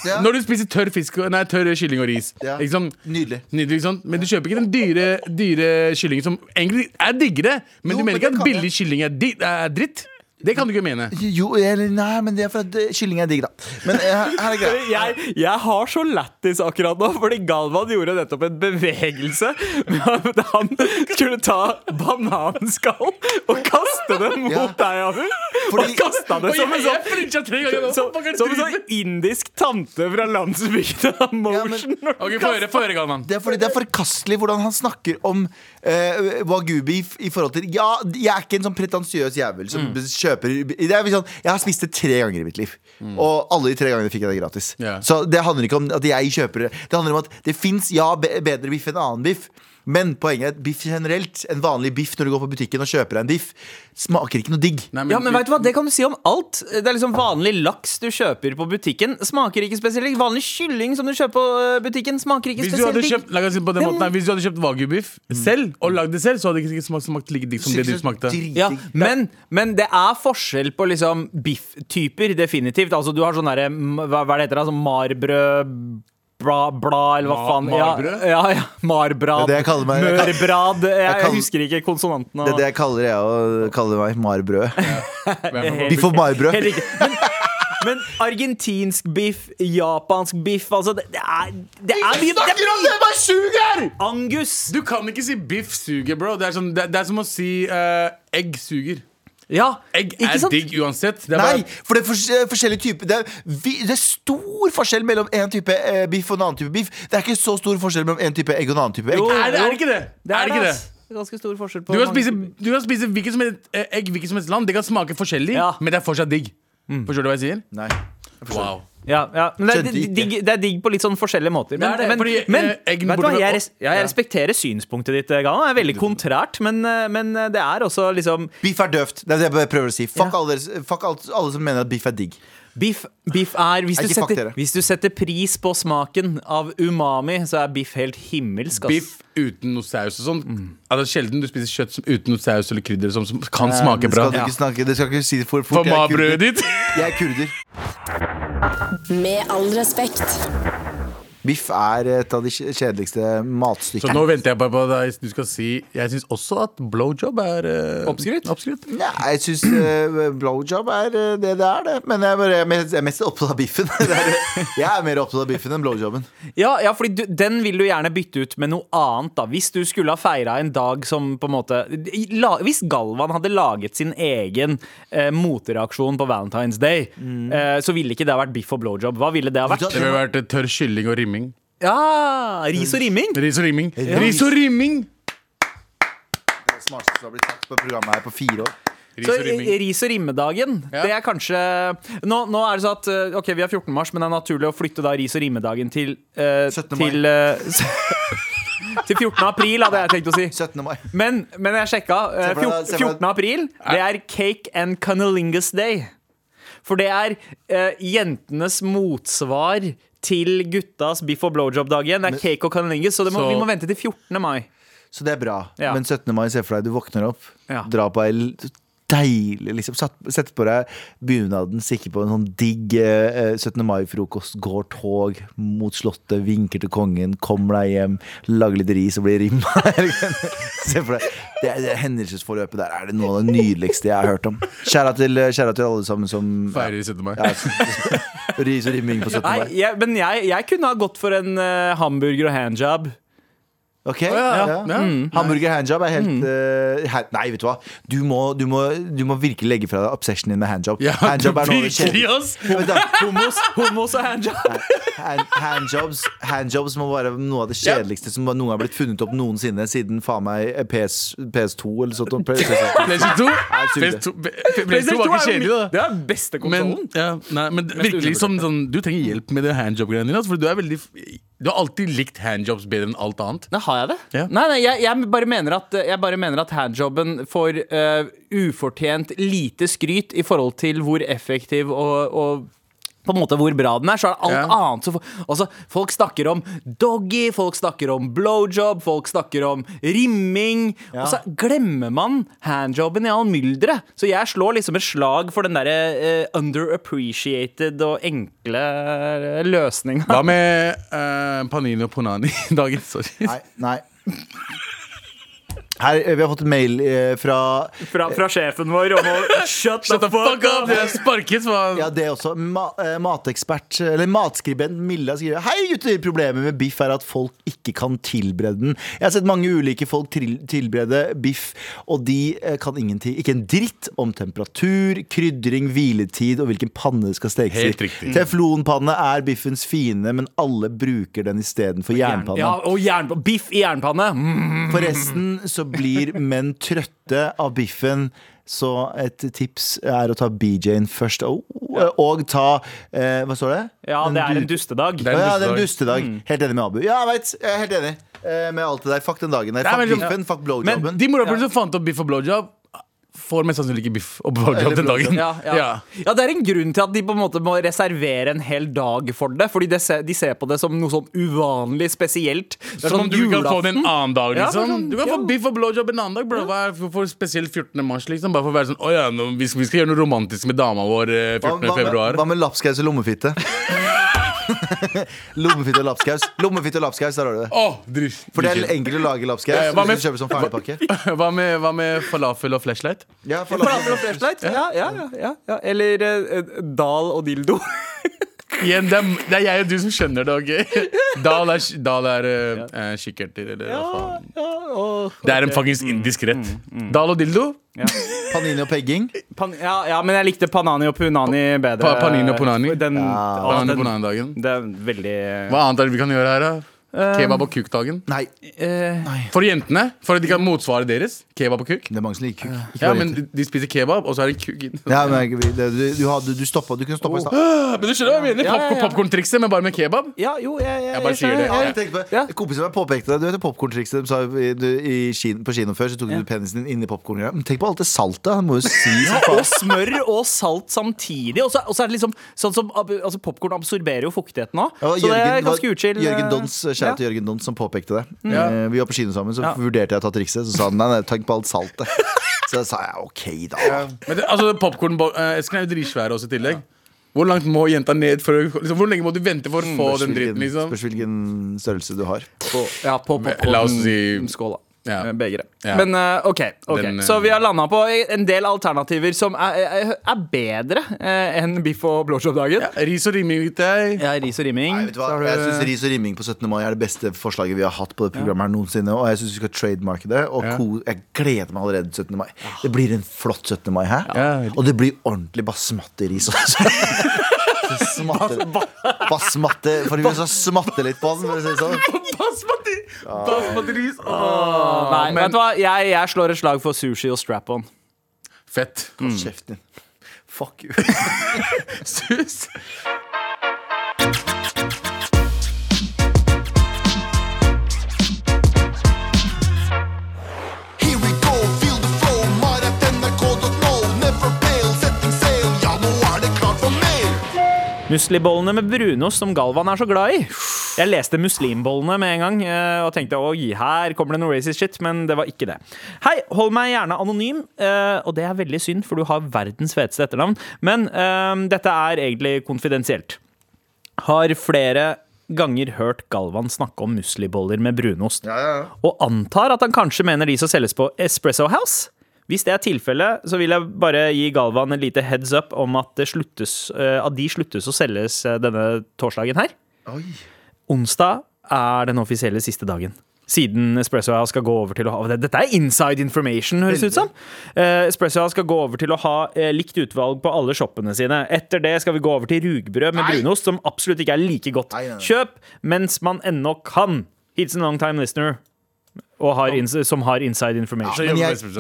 B: Ja.
C: når du spiser tørr, fisk, og- nei, tørr kylling og ris
B: Ja.
C: ikke sant?
B: Nydelig.
C: Nydelig, ikke sant? Men du kjøper ikke den dyre, dyre kyllingen som egentlig er diggere. Men
B: Jo,
C: du
B: men
C: mener ikke
B: det
C: at
B: kan jeg.
C: billig kylling er, di er dritt? Det kan du ikke mene.
B: Jo, eller nei, men det er for at eh, kylling er digg, da. Men eh, her, her er greia.
D: Jeg, jeg har så lættis akkurat nå, fordi Galvan gjorde nettopp en bevegelse med at han skulle ta bananskall og kaste det mot
B: Ja.
D: deg, Abu. Og
B: Fordi-
D: kasta det
C: Og
D: som en
C: jeg-
D: sånn
C: jeg flinchet tre ganger nå.
D: Som
C: Hva fuck er det
D: som en
C: du
D: sånn
C: driver
D: indisk tante fra landsbygda Motion.
B: Ja,
C: Ok, Få høre, få høre, Galvan.
B: Det er fordi det er forkastelig hvordan han snakker om uh, wagyu-beef i forhold til Ja, jeg er ikke en sånn pretensiøs jævel som
C: Mm.
B: kjøper det er vel sånn, Jeg har spist det tre ganger i mitt liv, og alle de tre gangene fikk jeg det gratis.
C: Mm. Ja.
B: Så det handler ikke om at jeg kjøper det. Det handler om at det fins ja, be bedre biff enn annen biff. Men poenget er at biff generelt, en vanlig biff når du går på butikken og kjøper deg en diff, smaker ikke noe digg.
C: Nei,
D: Ja, men vet du hva, Det kan du si om alt. Det er liksom Vanlig laks du kjøper på butikken, smaker ikke spesielt digg. Vanlig kylling som du kjøper på øh, butikken, smaker ikke
C: Hvis du hadde
D: spesielt
C: kjøpt,
D: digg.
C: la meg si det på den måten, her, hvis du hadde kjøpt wagyu-biff
B: Mm.
C: selv, og lagd det selv, så hadde det ikke smakt, smakt like digg som det du smakte.
B: Dritdigg.
D: Ja, men, men det er forskjell på liksom bifftyper, definitivt. Altså Du har sånn derre m- hva, hva er det heter det? Sånn marbrød Bla, bla, eller hva
C: Ma-
D: faen. Ja,
C: marbrød?
D: ja, ja.
B: Det
D: Marbrad.
B: er det jeg kaller meg. Jeg kall-
D: Mørbrad. Jeg, jeg,
B: kaller-
D: husker ikke konsonantene.
B: Det er
D: og-
B: det jeg kaller jeg og kaller meg marbrød.
C: Men-
B: Biff og marbrød.
D: Helt riktig. Men, men argentinsk biff, japansk biff altså Det, det er Det er mye det er mye-
B: Hva suger?!
D: Angus!
C: Du kan ikke si biff suger, bro. Det er, som- det, det er som å si eh, egg suger.
D: Ja,
C: Egg
D: ikke
C: er
D: sant?
C: digg uansett. Det er
B: Nei,
C: bare,
B: for det er fors eh, forskjellige typer det, er vi- det er stor forskjell mellom en type eh, biff og en annen type biff. Det er ikke så stor forskjell mellom en type egg og en annen type egg.
D: Jo,
C: er, det- er det ikke det?
D: Det er
C: det ikke det?
D: ass. Det er ganske stor forskjell på
C: Du kan
D: mange
C: spise,
D: typer.
C: du kan spise hvilket som helst eh, egg hvilket som helst land. Det kan smake forskjellig,
D: Ja. Mm.
C: men det er fortsatt digg. Forstår du hva jeg sier?
B: Nei.
C: Wow.
D: ja, ja. Men det, er,
B: Skjønte ikke.
D: digg, det er digg på litt sånn forskjellige måter. Men,
C: Det er det,
D: men,
C: fordi,
D: men
C: eh, eggen
D: vet du hva,
C: burde-
D: jeg, res ja,
C: Ja.
D: jeg respekterer synspunktet ditt, Gana. Det er veldig kontrært, men, eh, men eh, det er også liksom
B: Biff er døvt. Det er det jeg prøver å si. Fuck,
D: Ja.
B: alle, dere- fuck alt, alle som mener at biff er digg.
D: Biff, biff er hvis
B: Jeg
D: du,
B: ikke fuck
D: setter,
B: dere.
D: hvis du setter pris på smaken av umami, så er biff helt himmelsk. ass. Mm.
C: Biff uten noe saus og sånn. Altså, sjelden du spiser kjøtt som, uten noe saus eller krydder som, som kan smake
B: Det skal
C: bra.
B: du ikke snakke Det skal ikke si det for fort.
C: For
B: Jeg er kurder.
C: mabrødet ditt!
B: Jeg er kurder.
F: Med all respekt.
B: Biff er et av de kj- kjedeligste
C: Så
B: matstykkene.
C: nå venter jeg bare på deg. Du skal si Jeg syns også at blowjob er eh,
D: Oppskrytt?
C: oppskrytt.
B: Nei, jeg syns eh, blowjob er eh, det det er, det. Men jeg, bare, jeg er mest- jeg er mest opptatt av biffen. Det er, jeg er mer opptatt av biffen enn blowjobben.
D: Ja, ja fordi du, den vil du gjerne bytte ut med noe annet da Hvis du skulle ha feiret en dag som på en måte i- la, Hvis Galvan hadde laget sin egen eh, motreaksjon på Valentine's Day
C: Mm.
D: eh, Så ville ikke det ha vært biff og blowjob Hva ville det ha vært?
C: Det ville vært eh, tørr kylling og rimming.
D: Ja, ris
C: Mm.
D: og rimming
C: Ris og rimming.
B: Ja.
C: Ris og rimming!
B: smarteste som har blitt tatt på programmet her på fire år.
C: eh, Ris
D: så
C: og rimming.
D: i- ris og rimmedagen,
C: Ja.
D: det er kanskje nå, nå er det sånn at eh, Ok, vi har 14. mars, men det er naturlig å flytte da ris og rimmedagen til eh,
B: 17. mai.
D: Til, eh, til 14. april, hadde jeg tenkt å si.
B: 17. mai.
D: Men, men jeg sjekka. eh,
B: Se for deg-
D: fjort-
B: se for deg-
D: 14. april, det er Cake and Cunnilingus Day. For det er eh, jentenes motsvar til guttas biff og blowjob-dag igjen. Det er cake og cunnilingus, så, det må,
C: Så-
D: vi må vente til 14. mai.
B: Så det er bra.
D: Ja.
B: Men 17. mai, se for deg, du våkner opp,
D: Ja.
B: drar på ei l- deilig liksom, satt- Sett på deg bunaden, stikker på en sånn digg eh, eh, 17. mai-frokost, går tog mot Slottet, vinker til kongen, kommer deg hjem, lager litt ris og blir rimma. se for deg. Det, det hendelsesforløpet der er det noe av det nydeligste jeg har hørt om. Kjære til, kjære til alle sammen som
C: Feirer 17. mai.
B: ja, Ris og rimming på 17.
D: Nei,
B: mai.
D: jeg, men jeg, jeg kunne ha gått for en eh, hamburger og handjob.
B: Ok?
C: Ja. Mm.
B: Ja. Mm.
C: Ja.
B: Hamburger handjob er helt eh, her, Nei, vet du hva. Du må, du, må, du må virkelig legge fra deg obsessionen din med handjob.
C: Ja,
B: handjob er noe av det
C: virkelig,
B: kjedeligste-
C: ass!
B: Vent da,
D: Homos, homos og handjob.
B: hand- Handjobs Handjobs må være noe av det kjedeligste som noen har blitt funnet opp noensinne siden faen meg eh, PS, PS2 eller sånt. PS2.
C: PlayStation 2
B: sykt.
C: PS2 PlayStation 2 var ikke kjedelig, da.
D: Det er beste
C: Men,
D: konsollen.
C: ja, nei, men virkelig som sånn, Du trenger hjelp med det handjob-greiene dine. altså, For du er veldig Du har alltid likt handjobs bedre enn alt annet.
D: Nei, har jeg det?
C: Ja.
D: Nei, nei, jeg, jeg, bare mener at, jeg bare mener at handjobben får eh, ufortjent lite skryt i forhold til hvor effektiv og, og på en måte hvor bra den er. Så er det alt
C: Ja.
D: annet som får- altså, Folk snakker om doggy, folk snakker om blowjob, folk snakker om rimming. Og så glemmer man handjobben i all mylderet. Så jeg slår liksom et slag for den derre eh, underappreciated og enkle eh, løsninga.
C: Hva med eh, panini og ponani-dagen? Sorry.
B: Nei, nei. Her, eh, vi har fått en mail eh, fra
D: Fra, fra sjefen vår om å shut,
C: Shut the fuck up! Jeg sparket, faen.
B: ja, det er også ma eh, matekspert, eller matskribent Milla skriver Hei gutter, problemet med biff er at folk ikke kan tilberede den. Jeg har sett mange ulike folk til tilberede biff, og de eh, kan ingenting. Ikke en dritt om temperatur, krydring, hviletid og hvilken panne det skal stekes i.
C: Helt riktig.
B: Teflonpanne er biffens fiende, men alle bruker den istedenfor jernpanne.
D: Ja, og jernpa- biff i jernpanne. Mm.
B: Forresten så blir menn trøtte av biffen. Så et tips er å ta BJ-en først. Og, og ta eh, Hva står det?
D: Ja, det er en
B: du-
D: dustedag.
C: Det er en Mm.
B: Å ja, det er en
C: dustedag.
B: dustedag. Helt enig med Abu. Ja, jeg vet, jeg er helt enig. eh, med alt det der. Fuck den dagen der.
C: Nei,
B: Fuck
C: men- liksom-
B: biffen, fuck
C: Men
B: blowjobben.
C: de morapulene som fant opp biff og blowjob, får mest sannsynlig ikke biff og blowjob
B: Eller
C: den dagen.
D: Ja, ja. Ja.
C: Ja.
D: det er en grunn til at de på en måte må reservere en hel dag for det. Fordi de ser, de ser på det som noe sånn uvanlig spesielt. sånn
C: Det er som om du kan få det en annen dag,
D: Ja,
C: liksom.
D: sånn,
C: Du kan få
D: ja.
C: biff og blowjob en annen dag, bro. Hva er for, for spesielt 14. mars, liksom? Bare for å være sånn Å ja, nå, vi, skal, vi skal gjøre noe romantisk med dama vår eh,
B: Hva,
C: 14.
B: hva, med,
C: februar.
B: hva med lapskaus og lommefitte? lommefitte og lapskaus. Lommefitte og lapskaus, der har du det.
C: Å, dritt.
B: For det er
C: Dritt.
B: enkelt å lage lapskaus.
C: Ja, ja, Eh, hva
B: hvis
C: med-
B: du kjøper sånn ferdigpakke.
C: hva, med, hva med falafel og flashlight?
B: Ja, for
D: Forlater og
B: lapskaus.
D: flashlight? Ja, ja, ja, ja, ja. Eller eh, dal og dildo.
C: Igjen, det, er, det er jeg og du som skjønner det, OK? Dal er, dal er eh, eh, kikkerter, eller hva faen.
D: Ja, og,
C: Det er en faktisk indisk rett.
B: Mm,
C: Dal og dildo.
B: Panini og pegging.
D: pan, ja, ja, men jeg likte panani og punani bedre.
C: Pa- panini og punani?
D: Den, å,
C: Hva annet
D: den,
C: på denne dagen?
D: det er veldig
C: Hva annet er det vi kan gjøre her, da?
B: Um,
C: Kebab og kukdagen.
B: Nei,
D: eh,
C: For jentene, for at de kan motsvare deres. Kebab og kuk.
B: det er mange som liker kuk. Ikke
C: Ja,
B: bare
C: men
B: jenter.
C: de spiser kebab, og så er det kuk inni.
B: ja, men jeg- det, du, du, hadde, du, stoppa, du kunne stoppa i stad.
C: Ja, Men du skjønner hva jeg mener?
D: Ja, ja, ja.
C: Popcorn- Popcorn-trikset, men bare med kebab.
D: Ja, jo, jeg, jeg,
C: Jeg bare sier det.
B: Ja,
D: skjønner.
B: jeg tenkte på det.
D: Ja.
B: Kompisen min påpekte det. Du vet det popcorntrikset de sa i, du, i Kina, på kino før? Så tok du penisen din inni popkorngreia. Men tenk på alt det saltet. Han må jo si sånn. som
D: Og
B: faen.
D: smør og salt samtidig. Og så og så er det liksom sånn som ab- altså Popkorn absorberer jo fuktigheten òg.
B: Ja,
D: så det er
B: var-
D: ganske uchill. eh,
B: Jørgen Dons, kjære
D: ja. Mm.
B: til Jørgen Dons som påpekte det.
C: Ja.
B: Eh, Vi var på kino sammen, så
D: Ja.
B: vurderte jeg å ta trikset. Så sa han nei, nei, tenk på alt saltet. Så da sa jeg OK, da.
C: Men det, altså, Popkorn-esken er jo dritsvære også i tillegg. Hvor langt må jenta ned for å- liksom, Hvor lenge må du vente for å få
B: Spørs
C: den dritten,
B: hvilken-
C: liksom?
B: Spørs hvilken størrelse du har.
D: Ja, på
C: La oss si-
D: popkornskåla.
C: Ja.
D: Ja. Begeret.
C: Ja.
D: Men eh, OK. ok.
C: Den, eh,
D: så vi har landa på en del alternativer som er, er- er bedre eh, enn biff og blowjob-dagen.
C: Ja, ris og rimming, gutter.
D: Ja, ris og rimming.
B: Nei, vet du hva? Jeg syns ris og rimming på 17. mai er det beste forslaget vi har hatt på det programmet her noensinne. Og jeg syns vi skal trademarke det. Og
C: Ja.
B: ko jeg gleder meg allerede til 17. mai. Det blir en flott 17. mai her.
C: Ja.
B: Og det blir ordentlig basmati-ris også. Smatte, basmatte, for vi skal smatte litt på den. for å si det sånn.
C: Basmati! Basmati-ris.
D: Nei,
C: men-
D: vet du hva? Jeg, jeg slår et slag for sushi og strap-on.
C: Fett. Mm.
B: Hold Kjeften din. Fuck you.
C: Sus.
G: Here we go, feel the flow, maratnrk.no. Never fail, setting sail, ja nå er det klart for mer.
D: Muslibollene med brunost som Galvan er så glad i. Jeg leste muslimbollene med en gang eh, og tenkte oi, her kommer det noe racist shit, men det var ikke det. Hei, hold meg gjerne anonym, eh, og det er veldig synd, for du har verdens feteste etternavn, men eh, dette er egentlig konfidensielt. Har flere ganger hørt Galvan snakke om musliboller med brunost, og antar at han kanskje mener de som selges på Espresso House. Hvis det er tilfellet, så vil jeg bare gi Galvan en lite heads up om at, det sluttes, eh, at de sluttes å selges eh, denne torsdagen her. Onsdag er den offisielle siste dagen. Siden Espresso House skal gå over til å ha Dette er inside information, høres det ut som. Eh, Espresso House skal gå over til å ha eh, likt utvalg på alle shoppene sine. Etter det skal vi gå over til rugbrød med brunost, som absolutt ikke er like godt.
B: Nei, nei, nei.
D: Kjøp mens man ennå kan. Hilsen long time listener og har ins som har inside information.
B: Men jeg, jeg, synes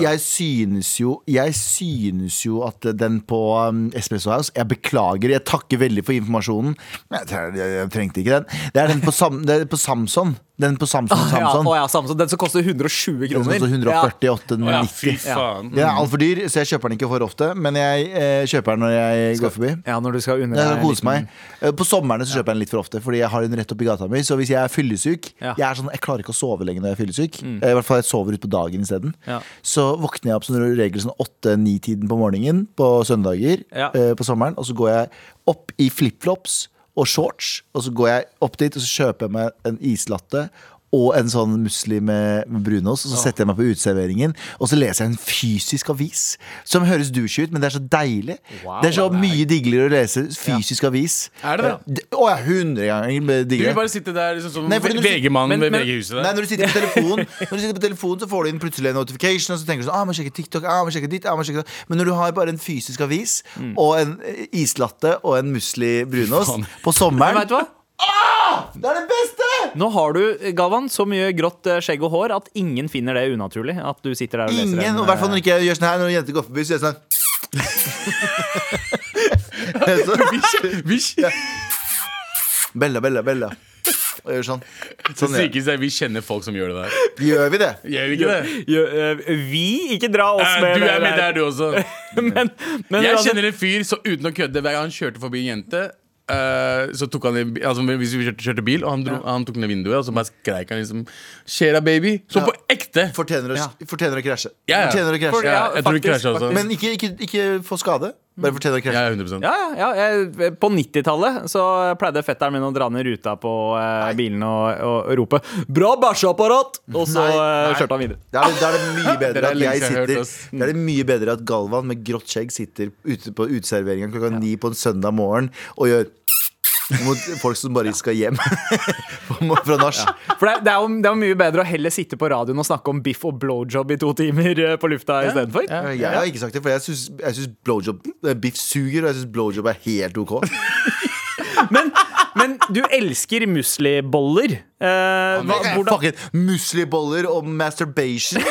B: jo, jeg synes jo at den på um, Espresso House Jeg beklager, jeg takker veldig for informasjonen. Men jeg, tre- jeg, jeg trengte ikke den. Det er den på, Sam, det er på Samson. Den på Samson Samson.
D: ja, Samson. Den som koster 120
B: Den koster 148,90.
C: Å ja, fy faen.
B: Den er altfor dyr, så jeg kjøper den ikke for ofte. Men jeg eh, kjøper den når jeg går forbi.
D: Ja, når du skal under
B: Jeg skal
D: deg
B: kose meg. Eh, På sommerne så kjøper jeg den litt for ofte, Fordi jeg har den rett oppi gata mi. Så hvis jeg er fyllesyk
D: Ja. Mm.
B: Jeg er sånn, jeg klarer ikke å sove lenge når jeg er fyllesyk. Eh, I hvert fall jeg sover ut på dagen isteden.
D: Ja.
B: Så våkner jeg opp som regel sånn åtte-ni-tiden på morgenen på søndager
D: Ja.
B: eh, på sommeren. Og så går jeg opp i flipflops og shorts, og så går jeg opp dit og så kjøper jeg meg en islatte. Og en sånn musli med med brunost. Og så setter jeg meg på uteserveringen og så leser jeg en fysisk avis. Som høres douche ut, men det er så deilig.
D: Wow,
B: det er så mye diggere å lese fysisk avis. Eh,
C: Er det det?
B: Å ja, hundre ganger
C: Du vil
B: diggere.
C: bare sitte der liksom, som
B: Nei, fordi når du-
C: VG-mannen
D: men-
C: ved
D: men-
C: VG-huset.
B: Nei,
C: der.
B: når du sitter på telefon Når du sitter på telefon så får du inn plutselig en notification, og så tenker du sånn ah, må sjekke TikTok, ah, må sjekke dit, ah, må sjekke da. Men når du har bare en fysisk avis
D: Mm.
B: og en eh, islatte og en musli brunost på
D: Men
B: sommeren
D: vet du hva?
B: Ah! Det er det beste!
D: Nå har du, Galvan, så mye grått eh, skjegg og hår at ingen finner det unaturlig. At du sitter der og leser
B: Ingen,
D: en,
B: og i hvert fall
D: eh,
B: når ikke jeg gjør sånn her Når jenter går forbi, så gjør jeg sånn
C: Visj.
B: Bella, Bella, Bella og gjør sånn.
C: Det
B: sånn gjør.
C: sykeste er vi kjenner folk som gjør det der.
B: gjør vi det?
C: Gjør vi ikke det?
D: eh, Vi? Ikke dra oss
C: Eh,
D: med
C: Du er med
D: det
C: der, du også.
D: Men, men
C: Jeg
D: uansett-
C: kjenner en fyr så uten å kødde Hver gang han kjørte forbi en jente eh, Så tok han en- altså, Hvis vi kjørte, kjørte bil Og han, dro, han tok ned vinduet Og så bare skreik han liksom Skjera baby Så
B: Ja.
C: på ekte
B: Fortjener å, fortjener å krasje.
C: Ja, ja.
B: Fortjener å krasje.
D: For- ja,
C: Jeg tror vi
D: faktisk,
C: krasja også
B: Men ikke, ikke, ikke få skade. Bare fortjener å krasje.
C: Ja, 100%
D: Ja, ja, ja. Jeg, eh, på 90-tallet så pleide fetteren min å dra ned ruta på eh, bilen og, og rope 'bra bæsjeapparat', og så
B: Nei,
D: eh,
B: nei.
D: kjørte han videre.
B: Da er det, da er det mye
C: Det
B: bedre
C: er
B: at
C: lenge
B: jeg
C: siden jeg har
B: sitter
C: hørt oss.
D: Mm.
B: Da er det mye bedre at Galvan med grått skjegg sitter ute på uteserveringen klokka ni på en søndag morgen og gjør mot folk som bare skal hjem fra nach.
D: For det, er- det, er jo, det er jo mye bedre å heller sitte på radioen og snakke om biff og blowjob i to timer eh, på lufta istedenfor. Ja.
B: Jeg har ikke sagt det, for jeg syns- jeg syns blowjob eh, Biff suger, og jeg syns blowjob er helt ok.
D: Men du elsker musliboller. Eh, hva, hvordan
B: Fucking musliboller og masturbation.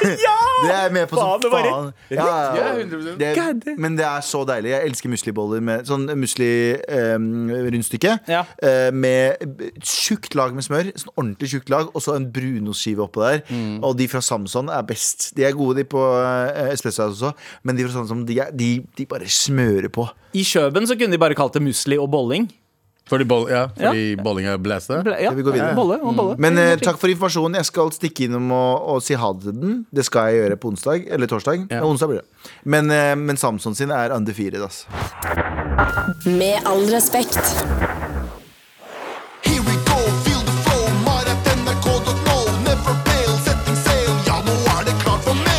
B: Det er jeg med på
D: Faen,
B: som
D: det var
B: faen. Ja, ja,
C: Ja,
B: ja.
C: 100%.
B: Det,
D: God damn.
B: men det er så deilig. Jeg elsker musliboller med sånn musli-rundstykke.
D: Ja.
B: eh, med et tjukt lag med smør, sånn ordentlig tjukt lag, og så en brunostskive oppå der.
D: Mm.
B: Og de fra Samson er best. De er gode, de på eh, espresso også, men de fra Samson, de, er, de, de bare smører på.
D: I Kjøben så kunne de bare kalt det musli og bolling.
C: Fordi, boll, ja, fordi bolling er blæsta
D: Ble- Ja,
B: Skal vi gå videre?
D: Bolle og bolle.
B: Men eh, takk for informasjonen. Jeg skal stikke innom og, og si ha det til den. Det skal jeg gjøre på onsdag. Eller torsdag. Ja. onsdag blir det. Men, eh, men Samson sin er undefeated, ass.
F: Med all respekt.
G: Here we go, feel the flow, Marat NRK.no. Never fail, setting sail, ja, nå er det klart for mer.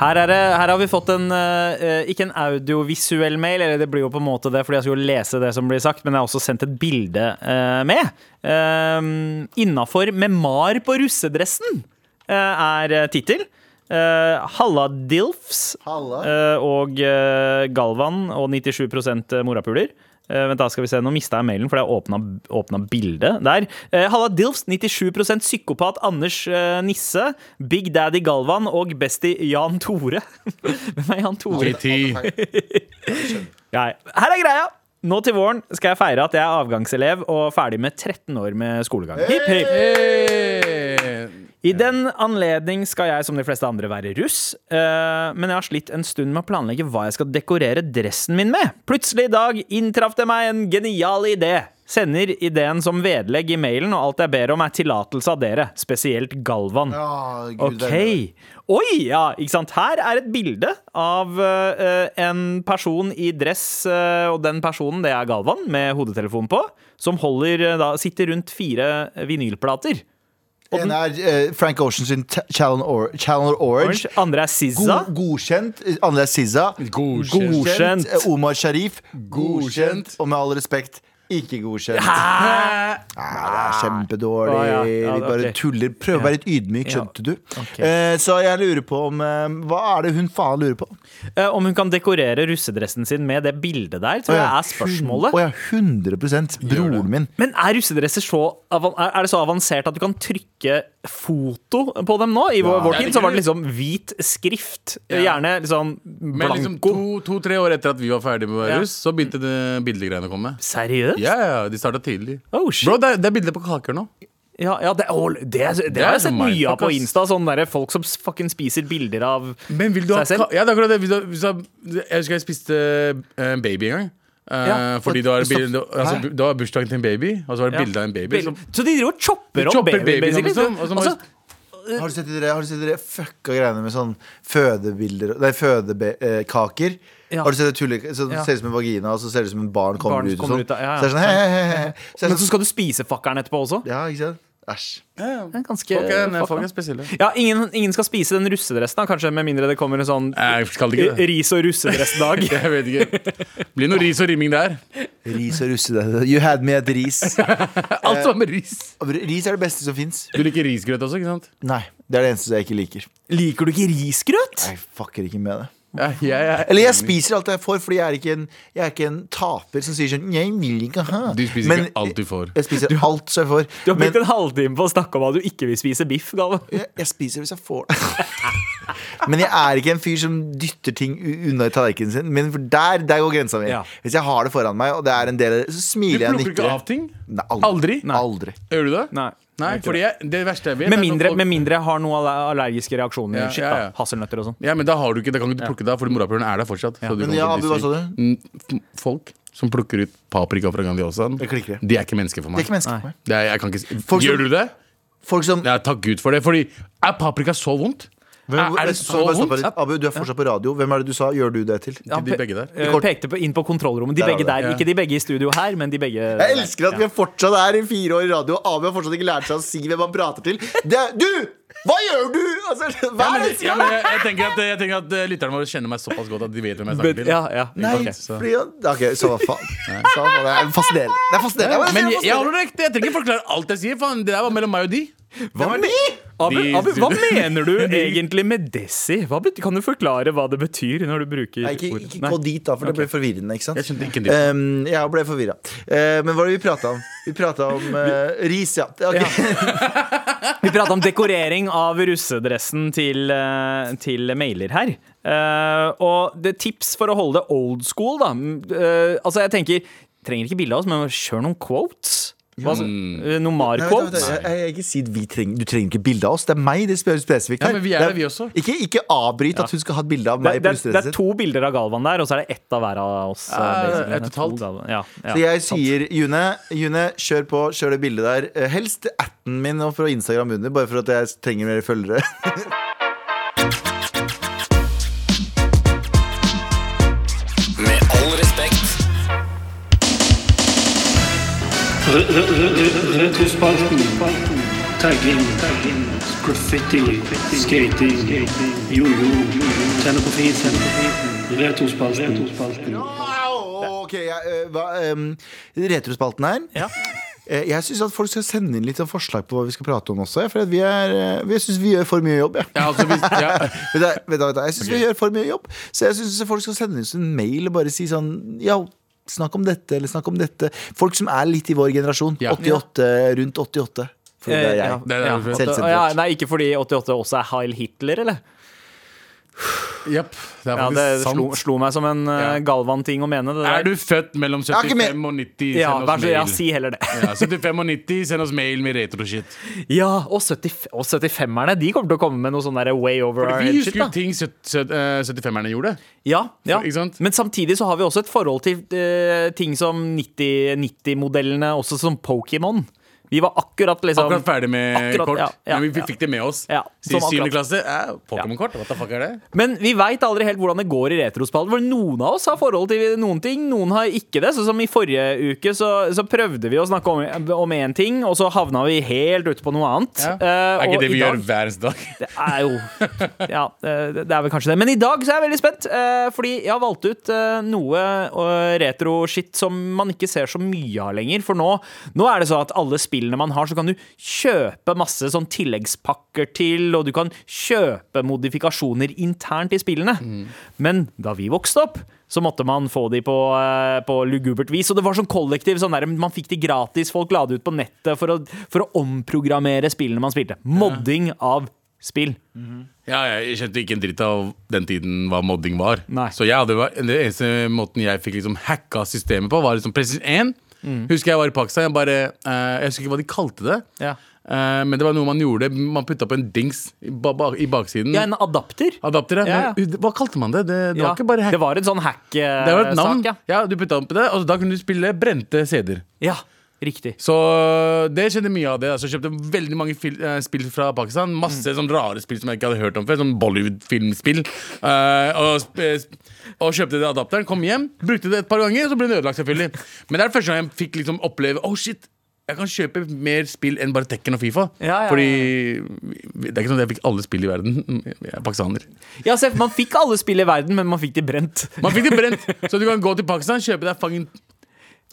D: Her, er det, her har vi fått en eh, Ikke en audiovisuell mail, eller det blir jo på en måte det, fordi jeg skulle lese det som blir sagt, men jeg har også sendt et bilde eh, med. Uh, Innafor med mar på russedressen eh, er tittel. Uh, Halla Dilfs
B: Halla.
D: eh, og eh, Galvan og 97 morapuler. Eh, vent da, skal vi se, Nå mista jeg mailen, for jeg åpna, åpna bildet der. Eh, Halla Dilfs, 97 psykopat Anders eh, Nisse. Big Daddy Galvan og bestie Jan Tore. Hvem er Jan Tore?
C: GT
D: Nei. Her er greia! Nå til våren skal jeg feire at jeg er avgangselev og ferdig med 13 år med skolegang. Hipp, hipp. I den anledning skal jeg som de fleste andre være russ, eh, men jeg har slitt en stund med å planlegge hva jeg skal dekorere dressen min med. Plutselig i dag inntraff det meg en genial idé. Sender ideen som vedlegg i mailen, og alt jeg ber om er tillatelse av dere, spesielt Galvan.
B: Ah, Gud, det er bra.
D: Ok. Oi, ja, ikke sant. Her er et bilde av eh, en person i dress, eh, og den personen, det er Galvan, med hodetelefon på, som holder, eh, da, sitter rundt fire vinylplater.
B: En er eh, Frank Ocean sin T- Channel, Or Channel Orange.
D: Orange. Andre er SZA.
B: God, godkjent. Eh, Andre er SZA.
C: Godkjent.
D: Godkjent.
B: Eh, Omar Sharif.
C: Godkjent.
B: Og med all respekt, ikke godkjent.
D: Eh,
B: Nei, det er kjempedårlig.
D: Å, ja. Ja,
B: Vi bare
D: ok.
B: tuller. Prøv å være litt ydmyk,
D: Ja.
B: skjønte du. Eh, så jeg lurer på om eh, Hva er det hun faen lurer på?
D: Eh, om hun kan dekorere russedressen sin med det bildet der, tror jeg er spørsmålet.
B: Å ja, 100 Broren min.
D: Men er russedresser så avan- er er det så avansert at du kan trykke foto på dem nå? I vår vår
C: Det er
D: tid så var det
C: kult.
D: liksom hvit skrift.
C: Ja.
D: Gjerne liksom
C: Men
D: blanko.
C: liksom to- to-tre år etter at vi var ferdige med å
D: Ja.
C: være russ Så begynte det bildegreiene å komme
D: Seriøst?
C: Ja, ja, de startet tidlig
D: Oh, shit.
C: Bro, det er, det er bilder på kaker nå
D: Ja, ja det, å, det, det,
C: Det
D: har
C: er
D: jeg sett mye av
C: mindfuck,
D: på
C: ass.
D: Insta. Sånn derre folk som s- fucking spiser bilder av
C: Men vil du ha
D: seg selv.
C: ka- Ja, det er akkurat det. Hvis du, hvis du, har- jeg husker jeg spiste eh, en baby en gang. Eh,
D: Ja.
C: fordi det var,
B: Stopp.
C: bilde- altså, det var bursdagen til en baby, og så var det bilde av en baby. liksom.
D: Bil-
C: som-
D: Så de driver og chopper opp
C: chopper
D: baby,
C: babyen,
D: basically.
C: liksom, og så må-
D: Altså,
B: Eh, Har du sett de der- har du sett de der fucka greiene med sånn fødebilder Nei, fødekaker?
D: Ja.
B: Har du sett det tullet Så det
D: Ja.
B: ser ut som en vagina, og så ser det ut som en barn kommer
D: Barn
B: ut. og
D: kommer
B: sånn.
D: ut av- ja, ja.
B: Så det er sånn, he, he, he, he. Så det
D: men
B: er
D: så
B: sånn
D: skal du spise fuckeren etterpå også?
B: Ja, ikke sant? Æsj.
D: Det er Ganske
C: Folk er,
D: fucka.
C: folk er spesielle.
D: Ja, ingen, ingen skal spise den russedressen, da, kanskje, med mindre det kommer en sånn
C: Nei, Jeg kaller det Eh, ikke det.
D: ris- og russedressdag.
C: Jeg vet ikke. Blir noe ris og rimming der.
B: Ris og russe. You had me at ris.
C: Alt som er med ris.
B: Ris er det beste som fins.
C: Du liker risgrøt også, ikke sant?
B: Nei, det er det eneste jeg ikke liker.
D: Liker du ikke risgrøt?
B: Jeg fucker ikke med det.
C: Ja, jeg er
B: Eller jeg
C: enig.
B: spiser alt jeg får, fordi jeg er ikke en, jeg er ikke en taper som sier sånn Jeg vil ikke ha.
C: Du spiser ikke alt du får.
B: Jeg spiser alt som jeg får.
D: Du har
B: men
D: brukt en halvtime på å snakke om hva du ikke vil spise biff, Galvan.
B: jeg, jeg spiser hvis jeg får det. men jeg er ikke en fyr som dytter ting u- unna i tallerkenen sin. Men for der, der går grensa mi.
D: Ja.
B: Hvis jeg har det foran meg, og det er en del av det, så
C: Du
B: smiler jeg og
C: plukker ikke
B: nikker.
C: av ting?
B: Nei,
C: Aldri?
B: Aldri. aldri.
C: Gjør du det?
D: Nei,
C: Nei
D: jeg gjør ikke
C: fordi jeg, det verste jeg vet
D: Med
C: er når
D: mindre,
C: folk-
D: med mindre jeg har noen aller- allergiske reaksjoner.
C: Ja,
D: shit,
C: ja, ja.
D: da. Hasselnøtter og sånn.
C: Ja, men da har du ikke, da kan ikke du plukke det av, fordi morapuleren er der fortsatt. så du
B: Men
C: kan
B: ja,
C: ikke
B: Abu, hva sa
C: disse- Mm, f- Folk som plukker ut paprika fra Grandiosaen,
B: Jeg klikker det.
C: de er ikke mennesker for meg.
B: Det er ikke mennesker for meg.
C: Det er, jeg kan ikke, s-
B: Folk som-
C: Gjør du det?
B: Folk som
C: Ja, takk Gud for det, fordi er paprika så vondt? Er, er det så
B: Sorry, bare stopp
C: vondt?
B: her. Abu, du er fortsatt på radio. Hvem er det du sa? Gjør du det til?
C: Ikke de begge der.
D: Eh, Pekte på, inn på kontrollrommet. De
B: Der var
D: begge der.
C: det.
D: Ikke de begge i studio her, men de begge
B: Jeg elsker at vi fortsatt er i fire år i radio, og Abu har fortsatt ikke lært seg å si hvem han prater til. Det er, du! Hva gjør du?! Altså, hva
C: Ja,
B: er
C: men,
B: det?
C: ja, men jeg, jeg tenker at, jeg tenker at eh, lytterne våre kjenner meg såpass godt at de vet hvem jeg snakker til.
D: Ja, ja.
B: Nei,
D: Ok.
B: fordi han OK, så faen. Så faen. Det er fascinerende. Det er fascinerende. Jeg må si det er
C: Men jeg, jeg
B: fascinerende.
C: holder det ekte. Jeg trenger ikke forklare alt jeg sier. Faen, det der var mellom meg og de.
B: Hvem er de?
D: Abu,
C: De-
D: Abu, hva mener du egentlig med desi? Hva bet- kan du forklare hva det betyr når du bruker
B: Nei, ikke,
D: ordet?
B: ikke
D: Nei.
B: gå dit, da, for det ble forvirrende. ikke sant?
C: Jeg skjønte ikke en dritt.
B: Um, jeg ble forvirra. Eh, men hva var det vi prata om? Vi prata om eh, ris, ja. Ok.
D: Vi prater om dekorering av russedressen til, eh, til mailer her. Eh, og det tips for å holde det old school, da. Mm, eh, altså, jeg tenker Trenger ikke bilde av oss, men kjør noen quotes. Hva, så- eh,
B: Nei,
C: Mm.
D: noen
B: vent, vent,
D: Mar-quotes.
B: vent, jeg, jeg, jeg, ikke si at vi trenger, du trenger ikke bilde av oss. Det er meg det spør spesifikt.
C: Ja,
B: her.
C: men vi er det, vi også.
B: Ikke, ikke avbryt at hun skal ha et bilde av
D: Det,
B: meg.
D: det,
B: på
D: er- det er
B: rustedresset.
D: to bilder av Galvan der, og så er det ett av hver av oss. eh,
C: Ja,
D: basically.
C: ett og et
D: To
C: halvt.
D: Galvan. Ja, ja,
B: Så jeg
D: sant.
B: sier, June, June kjør på, kjør det bildet der. Eh, Helst atten min og fra Instagram under, bare for at jeg trenger mer følgere.
H: Med all respekt.
I: Retrospalten. Tagging. Graffiti. Skating. Jojo. Tenne på fisen. Retrospalten.
B: Wow, ok, jeg, eh, hva, em, Retrospalten her.
D: Ja.
B: Eh, Jeg syns at folk skal sende inn litt sånn forslag på hva vi skal prate om også. jeg, For at vi er, eh, vi- jeg syns vi gjør for mye jobb. jeg.
C: Ja, altså, hvis, ja.
B: Vet du, vet du, vet du, jeg syns vi gjør for mye jobb. Så jeg syns folk skal sende oss en mail og bare si sånn Ja, snakk om dette, eller snakk om dette. Folk som er litt i vår generasjon.
C: Ja.
B: 88, rundt 88. For det er
D: Eh,
B: jeg.
D: ja,
C: Det er
D: ja.
C: derfor.
B: Selvsentrert.
D: Å, ja, nei, ikke fordi 88 også er Heil Hitler, eller?
C: Jepp. Det er
D: Ja,
C: faktisk
D: det slo,
C: sant.
D: slo meg som en eh,
C: Ja.
D: Galvan-ting å mene. Det
C: Er
D: der.
C: du født mellom
B: er ikke
C: 75 og 90,
D: ja,
C: send
D: vær
C: oss
D: så, ja,
C: mail.
D: si heller det.
C: Ja, 75 og 90, send oss mail med retroshit.
D: Ja, og, 70, og 75-erne de kommer til å komme med noe sånn der way over our
C: Vi
D: head shit.
C: husker jo
D: da
C: ting
D: eh,
C: 75-erne gjorde.
D: ja, ja.
C: ikke sant?
D: Men samtidig så har vi også et forhold til eh, ting som 90 90-modellene, også som Pokémon. Vi var akkurat liksom
C: Akkurat ferdig med
D: Akkurat,
C: kort.
D: ja, ja,
C: men vi fikk
D: ja.
C: det med oss.
D: Ja,
C: Så I
D: sånn
C: syvende
D: akkurat.
C: klasse eh, Pokémon-kort? What the fuck er det?
D: Men vi veit aldri helt hvordan det går i retrospallen. For noen av oss har forhold til noen ting, noen har ikke det. Så som i forrige uke så, så prøvde vi å snakke om- om én ting, og så havna vi helt ute på noe annet. Eh,
C: er ikke
D: og
C: det
D: i
C: vi
D: dag-
C: gjør hver eneste dag?
D: Det er jo Ja, eh, det er vel kanskje det. Men i dag så er jeg veldig spent, eh, fordi jeg har valgt ut eh, noe eh, retro-shit som man ikke ser så mye av lenger. For nå, nå er det sånn at alle spillene man har, så kan du kjøpe masse sånn tilleggspakker til, og du kan kjøpe modifikasjoner internt i spillene. Men da vi vokste opp så måtte man få de på, eh, på lugubert vis. Og det var sånn kollektiv. Sånn der, man fikk de gratis, folk la det ut på nettet for å, for å omprogrammere spillene man spilte. Modding av spill.
C: Ja, jeg skjønte ikke en dritt av den tiden hva modding var.
D: Nei.
C: Så jeg hadde, den eneste måten jeg fikk liksom hacka systemet på, var liksom Presis 1.
D: Mm.
C: Husker jeg var i Pakistan. Jeg, bare, eh, jeg husker ikke hva de kalte det.
D: Ja.
C: Eh, men det var noe man gjorde. Man putta på en dings i, ba ba i baksiden.
D: Ja, en adapter.
C: Adapter,
D: Ja,
C: ja. Men Hva kalte man det? Det, det
D: Ja,
C: var ikke bare hack.
D: det var en sånn
C: Det var et navn.
D: hack-sak, ja.
C: ja. Du putta den på det, og da kunne du spille brente CD-er.
D: ja. Riktig.
C: Så eh, det skjedde mye av det. Altså, jeg kjøpte veldig mange fil eh, spill fra Pakistan. Masse
D: Mm.
C: sånn rare spill som jeg ikke hadde hørt om før. Sånn Bollywood-filmspill. Eh, og, sp- eh, sp- og kjøpte det adapteren, kom hjem, brukte det et par ganger, så ble det ødelagt, selvfølgelig. Men det er første gang jeg fikk liksom oppleve Oh shit, jeg kan kjøpe mer spill enn bare Tekken og Fifa.
D: Ja, ja, ja.
C: Fordi det er ikke sånn at jeg fikk alle spill i verden. Jeg er pakistaner.
D: Ja, se, man fikk alle spill i verden, men man fikk de brent.
C: Man fikk det brent, så du kan gå til Pakistan, kjøpe deg fucking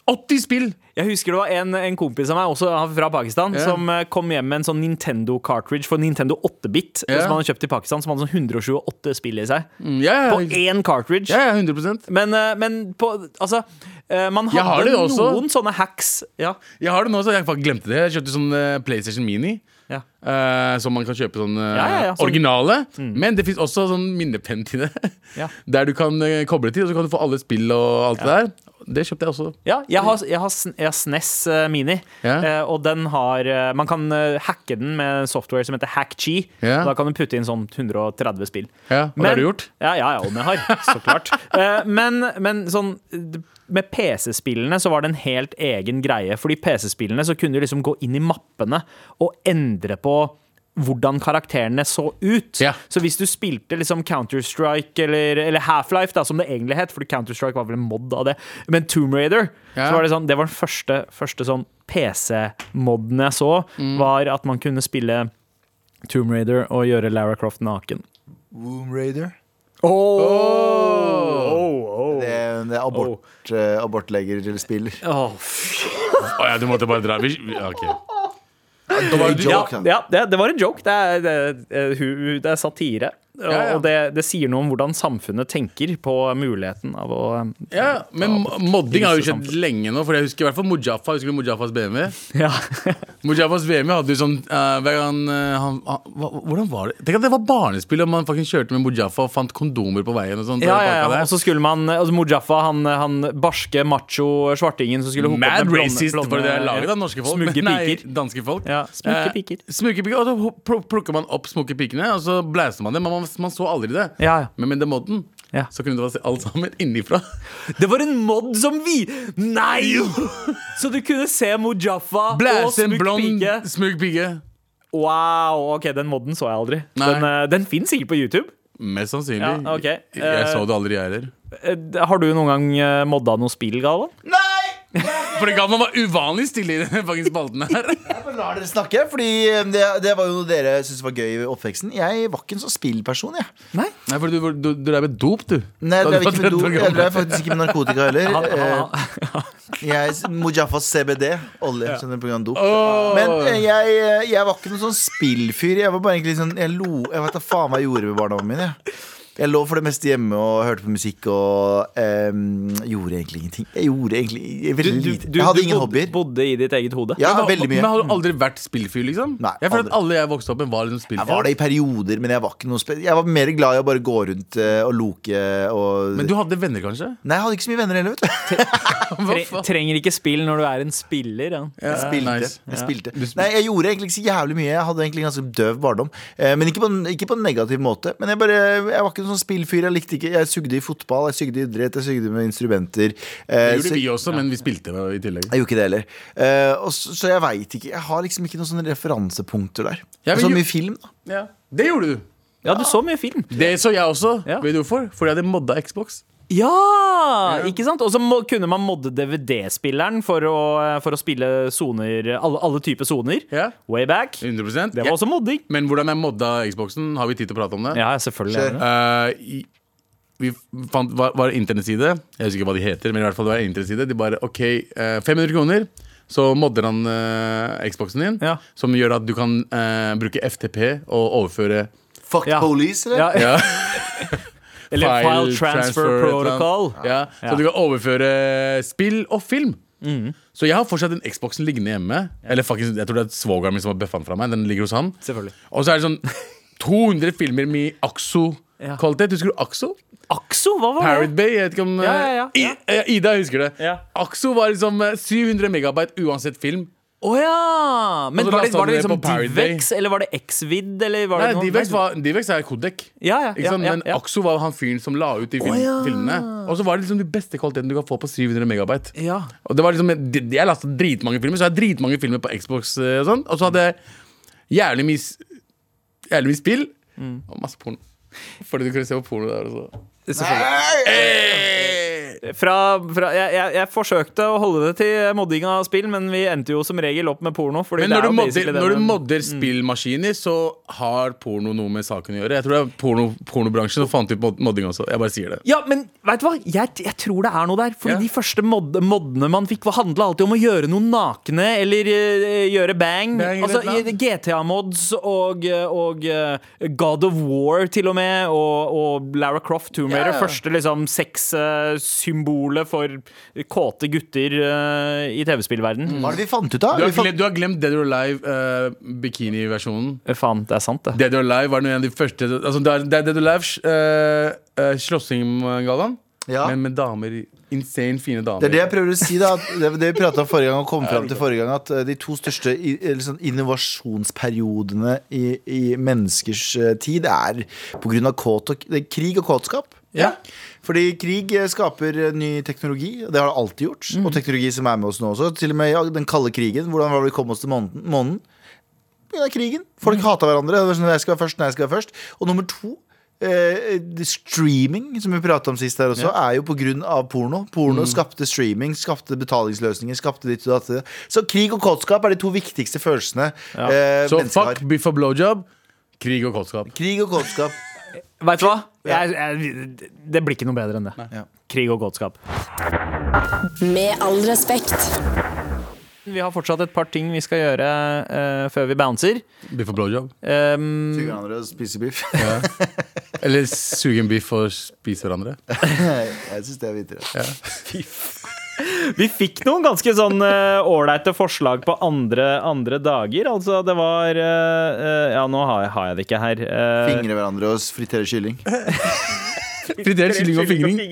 C: 80 spill!
D: Jeg husker det var en, en kompis av meg, også han fra Pakistan,
C: Ja.
D: som eh, kom hjem med en sånn Nintendo cartridge for Nintendo 8-bit
C: Ja.
D: som han hadde kjøpt i Pakistan, som hadde sånn 128 spill i seg.
C: Ja, ja,
D: På én cartridge.
C: ja, ja 100
D: Men, eh, men på Altså, eh, man
C: Jeg har
D: hadde
C: det også.
D: noen sånne hacks. Ja.
C: Jeg har det nå, så jeg faktisk glemte det. Jeg kjøpte sånn eh, PlayStation Mini.
D: Ja.
C: eh, som man kan kjøpe sånn eh,
D: Ja, ja, ja, sånn-
C: originale. Men det fins også sånn minnepenn til det.
D: Ja.
C: Der du kan eh, koble til, og så kan du få alle spill og alt det der. Det kjøpte jeg også.
D: Ja, jeg har, jeg har, sn- jeg har SNES eh, Mini,
C: Ja.
D: eh, og den har eh, Man kan eh, hacke den med software som heter HackChi.
C: Ja.
D: Da kan du putte inn sånn 130 spill.
C: Ja, og det har du gjort?
D: Ja, ja, ja og den jeg har, så klart. Eh, men, men sånn eh, med PC-spillene så var det en helt egen greie. Fordi PC-spillene så kunne du liksom gå inn i mappene og endre på hvordan karakterene så ut.
C: Ja.
D: Så hvis du spilte liksom Counter-Strike eller, eller Half-Life, da, som det egentlig het, fordi Counter-Strike var vel en mod av det, men Tomb Raider
C: Ja.
D: så var Det sånn, det var den første, første sånn PC-modden jeg så,
C: Mm.
D: var at man kunne spille Tomb Raider og gjøre Lara Croft naken.
B: Womb Raider.
D: Oh!
B: Det, det er abort,
D: Oh.
B: eh, abortlegerspill.
C: Å ja, du måtte bare dra. Vi, vi- ok.
B: Drøy
D: Ja,
B: joke, da.
D: ja det, det var en joke. Det er, det, er- hu- det er satire. Og,
C: Ja, ja.
D: og det, det sier noe om hvordan samfunnet tenker på muligheten av å
C: Ja, men modding har jo
D: hilse
C: skjedd lenge nå, for jeg husker i hvert fall Mujaffa. Husker du Mujafas BMW?
D: Ja.
C: Mujafas VM hadde jo sånn eh, hver gang eh, han, han, hva- Hvordan var det? Tenk at det var barnespill, og man faktisk kjørte med Mujafa og fant kondomer på veien. og sånt, og
D: Ja, ja, ja.
C: pakka
D: Og
C: det.
D: så skulle man altså Mujaffa, han, han barske macho svartingen som skulle hooke opp
C: Mad
D: den blonde-
C: racist
D: blonde-
C: for det er laget av norske folk.
D: Smugge
C: Nei,
D: piker.
C: danske folk.
D: Ja, smukke
C: Eh,
D: piker.
C: smukke piker, Og så ho- pl- plukker man opp smukke pikene, og så blæser man dem. Men man, man så aldri det.
D: Ja, ja.
C: Men med den måten
D: Ja.
C: så kunne du se alt sammen innifra.
D: Det var en mod som vi Nei! Så du kunne se Mujaffa og
C: Blæse en
D: smukt
C: blond,
D: pike.
C: smugg pike.
D: Wow, ok, Den moden så jeg aldri.
C: Nei.
D: Den, eh, den fins sikkert på YouTube.
C: Mest sannsynlig.
D: Ja, ok.
C: Jeg-
D: Eh,
C: Jeg så det aldri, jeg heller.
D: Eh, Har du noen gang eh, modda noe spill, Galvan?
C: Fordi Galvan var uvanlig stille i den fucking spalten her.
B: Jeg bare lar dere snakke, fordi eh, det, det var jo noe dere syntes var gøy i oppveksten. Jeg var ikke en sånn spillperson, jeg.
C: Nei, for du, du, du drev med dop, du.
B: Nei,
C: Da
B: jeg drev, ikke med
C: du var
B: do.
C: 13 år
B: jeg
C: gammel.
B: drev faktisk ikke med narkotika heller. Eh, Jeg, Mujafas CBD, olje, skjønner du, på grunn av dop. Men eh, jeg, jeg var ikke noen sånn spillfyr. Jeg var bare egentlig sånn Jeg lo Jeg vet da faen hva jeg gjorde med barndommen min. Jeg. Jeg lå for det meste hjemme og hørte på musikk og em, gjorde egentlig ingenting. Jeg gjorde egentlig veldig lite. Jeg hadde ingen
D: bodde,
B: hobbyer.
D: bodde i ditt eget hode?
B: Ja,
C: Men har-
B: veldig mye. Mm.
C: Men har du aldri vært spillfyr, liksom?
B: Nei,
C: jeg føler
B: aldri.
C: at alle jeg vokste opp med, var liksom spillfyr.
B: Jeg var det i perioder, men jeg var ikke noe spe Jeg var mer glad i å bare gå rundt eh, og loke og
C: Men du hadde venner, kanskje?
B: Nei, jeg hadde ikke så mye venner heller, vet du.
C: Hva
D: Tre,
C: faen?
D: trenger ikke spill når du er en spiller. Ja.
B: Jeg spilte. Eh,
C: Eh, nice.
B: Jeg spilte.
C: Du spil-
B: Nei, jeg gjorde egentlig ikke så jævlig mye. Jeg hadde egentlig ganske døv barndom. Eh, Men ikke på, en, ikke på en negativ måte. Men jeg, bare, jeg var ikke noen sånn spillfyr. Jeg likte ikke Jeg sugde i fotball, jeg sugde i idrett, jeg sugde med instrumenter. Eh,
C: Det gjorde
B: så-
C: vi også, men vi spilte i tillegg.
B: jeg gjorde ikke det heller. Eh, og så, så jeg veit ikke. Jeg har liksom ikke noen sånne referansepunkter der.
C: Ja, men
B: så
C: jo-
B: mye film, da.
C: Det gjorde du!
D: ja, du så mye film.
C: Det så jeg også.
D: Ja.
C: Vet du hvorfor? Fordi jeg hadde modda Xbox.
D: Ja! Ikke sant? Og så må- kunne man modde DVD-spilleren for, å- for å spille soner, alle, alle typer soner.
C: Ja.
D: Way back.
C: 100%
D: Det var også modding.
C: Men hvordan jeg modda Xboxen, har vi tid til å prate om det?
D: Ja, selvfølgelig. er det det.
C: Eh, i, vi fant, var, var det internettside Jeg husker ikke hva de heter, men i hvert fall det var en internettside De bare, ok, eh, 500 kroner Så modder han eh, Xboxen din
D: Ja.
C: Som gjør at du kan eh, bruke FTP Og overføre
B: Fuck
D: Ja.
B: police, eller?
D: Ja.
C: ja,
D: Eller File Transfer,
C: et eller annet.
D: Protocol.
C: ja, Så
D: Ja. Mm.
C: du kan overføre spill og film Så jeg har fortsatt den Xboxen liggende hjemme Eller faktisk, jeg tror det er svogeren min som har bøffet den fra meg Den ligger hos han
D: Selvfølgelig.
C: Og så er det sånn 200 filmer med
D: Ja.
C: AXO-kvalitet Husker du AXO?
D: Akso, hva var
C: Parrot
D: det?
C: Bay, jeg vet ikke om
D: Ja, ja, ja,
C: I,
D: ja.
C: eh, Ida husker det.
D: Ja.
C: Akso var liksom eh, 700 megabyte uansett film.
D: Å ja! Men
C: Og så
D: var det,
C: lastet
D: var
C: han det
D: det liksom
C: på Pirate Bay.
D: Divex, eller var det Xvid, eller var
C: Nei,
D: det noe-
C: Divex, var, Divex er kodek.
D: Ja, ja,
C: ikke
D: ja,
C: sant?
D: ja,
C: Men
D: ja.
C: Akso var han fyren som la ut de film,
D: ja.
C: filmene. Og så var det liksom de beste kvaliteten du kan få på 700 megabyte.
D: Ja.
C: Og det var liksom, de- Jeg lasta dritmange filmer, så jeg har dritmange filmer på Xbox. eh, Og sånn Og så hadde jeg jævlig mye, s- jævlig mye spill
D: Mm.
C: og masse porno. Fordi du kunne se på porno der. Og så. Eh!
D: Selvfølgelig.
C: Hey!
D: fra, fra, jeg, jeg, jeg forsøkte å holde det til modding av spill, men vi endte jo som regel opp med porno. Fordi
C: Men
D: det
C: når
D: er
C: du,
D: jo
C: modder,
D: basically det Mm.
C: når du
D: man-
C: modder spillmaskiner, så har porno noe med saken å gjøre. Jeg tror det er porno, pornobransjen som fant ut mod- modding også. Jeg bare sier det.
D: Ja, men vet du hva? Jeg, jeg tror det er noe der. Fordi
C: Ja.
D: de første mod moddene man fikk, var- handla alltid om å gjøre noe nakne eller eh, gjøre bang.
C: Bang eller
D: altså,
C: et eller annet.
D: GTA-mods og, og eh, God of War, til og med, og, og Lara Croft Tomb Raider.
C: Ja.
D: Første liksom sexsymbolet for kåte gutter eh, i
C: Mm.
D: TV-spillverden.
B: Hva er det vi fant ut av?
C: Du har
B: Vi fant-
C: glemt, du har glemt Dead or Alive-bikiniversjonen.
D: Eh, Faen, det er sant, det.
C: Dead or Alive var noe av de første altså, Det er det er Dead or Alive uh, Slåssing, Galvan.
B: Ja.
C: Men med damer. i- Insane fine damer.
B: Det er det jeg prøver å si, da. at Det, det vi prata om forrige gang, og kom fram til forrige gang, at eh, de to største i, eh, liksom, innovasjonsperiodene i, i menneskers eh, tid er pga. krig og kåtskap.
C: Ja.
B: Fordi krig eh, skaper eh, ny teknologi, og det har det alltid gjort. Og teknologi som er med oss nå også. Til og med ja, den kalde krigen. Hvordan var det vi kom oss til månen? månen? Pga. krigen. Folk hata hverandre. Det var sånn, jeg skal være først, nei, jeg skal være først. Og nummer to eh, det streaming, som vi pratet om sist her også, er jo pga. porno. Porno skapte streaming, skapte betalingsløsninger, skapte ditt og datt. Så krig og kåtskap er de to viktigste følelsene eh,
C: Så
B: mennesker
C: fuck
B: har.
C: biff og blowjob. Krig og kåtskap.
B: Krig og kåtskap.
D: Vet du hva? Jeg, jeg, det blir ikke noe bedre enn det. Krig og godskap.
F: Med all respekt.
D: Vi har fortsatt et par ting vi skal gjøre eh, før vi bouncer.
C: Biff og blowjob.
D: Um,
B: Suger hverandre og spiser biff.
C: Eller suge en biff og spise hverandre.
B: jeg syns det er videre.
D: Vi fikk noen ganske sånn eh, ålreite forslag på andre, andre dager. Altså, det var eh, eh, Ja, nå har jeg, har jeg det ikke her. Eh,
B: Fingre hverandre og fritere kylling.
C: Fritert kylling og fingring.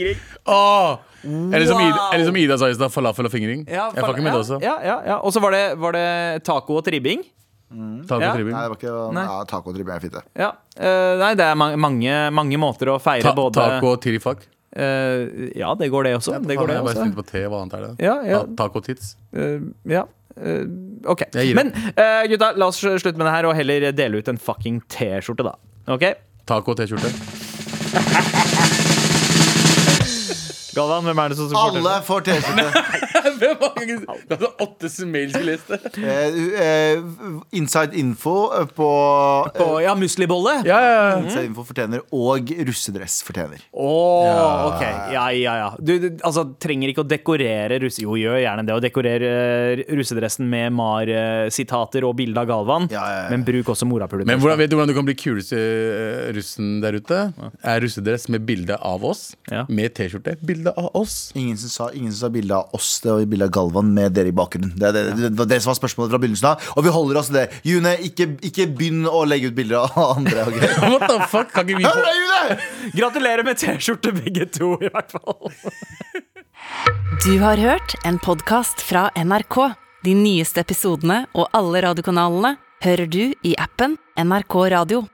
C: Åh! Eller, som Ida, eller som Ida sa i stad, falafel og fingring.
D: Ja,
C: jeg fucker med det også.
D: Ja, ja, ja. Og så var, det- var det taco og tribbing.
C: Taco
D: Ja.
C: tribbing.
B: Nei, det var ikke
D: Nei.
B: ja, Tacotribbing er fint, det.
D: Ja. Eh, nei, det er ma mange, mange måter å feire
C: Ta,
D: både
C: taco og tirifak.
D: Eh, ja, det går det også. det går det
C: jeg bare
D: også.
C: spent på te. Hva annet er det?
D: Ja, ja.
C: Ta, taco tits.
D: Eh, ja. Eh, OK.
C: Jeg gir
D: Men eh, gutta, la oss slutte med det her og heller dele ut en fucking T-skjorte, da. OK?
C: Taco og T-skjorte.
D: Galvan, hvem er det som supporter?
B: Alle får T-skjorte.
C: Det er åtte mails vi leste.
B: Eh, eh, Inside Info eh, på eh,
D: På, ja, muslibolle. Mm.
C: Ja, ja, ja.
B: Inside Info fortjener, og russedress fortjener.
D: Å, ok. Ja, ja, ja. Du, du altså, trenger ikke å dekorere russe... Jo, gjør gjerne det. Å dekorere eh, russedressen med MAR-sitater og bilde av Galvan.
B: Ja, ja, ja.
D: Men bruk også morapuler.
C: Men hvordan vet du hvordan du kan bli kuleste eh, russen der ute? Er russedress med bilde av oss.
D: Ja.
C: Med T-skjorte. Bilde av oss.
B: Ingen som sa, ingen som sa bilde av oss det var bilde av Galvan med dere i bakgrunnen. Det, er det, det var det som var spørsmålet fra begynnelsen av. Og vi holder oss til det. June, ikke, ikke begynn å legge ut bilder av andre. ok?
C: What the fuck? Kan ikke vi
B: Hør deg, June!
D: Gratulerer med T-skjorte, begge to, i hvert fall.
A: Du har hørt en podkast fra NRK. De nyeste episodene og alle radiokanalene hører du i appen NRK Radio.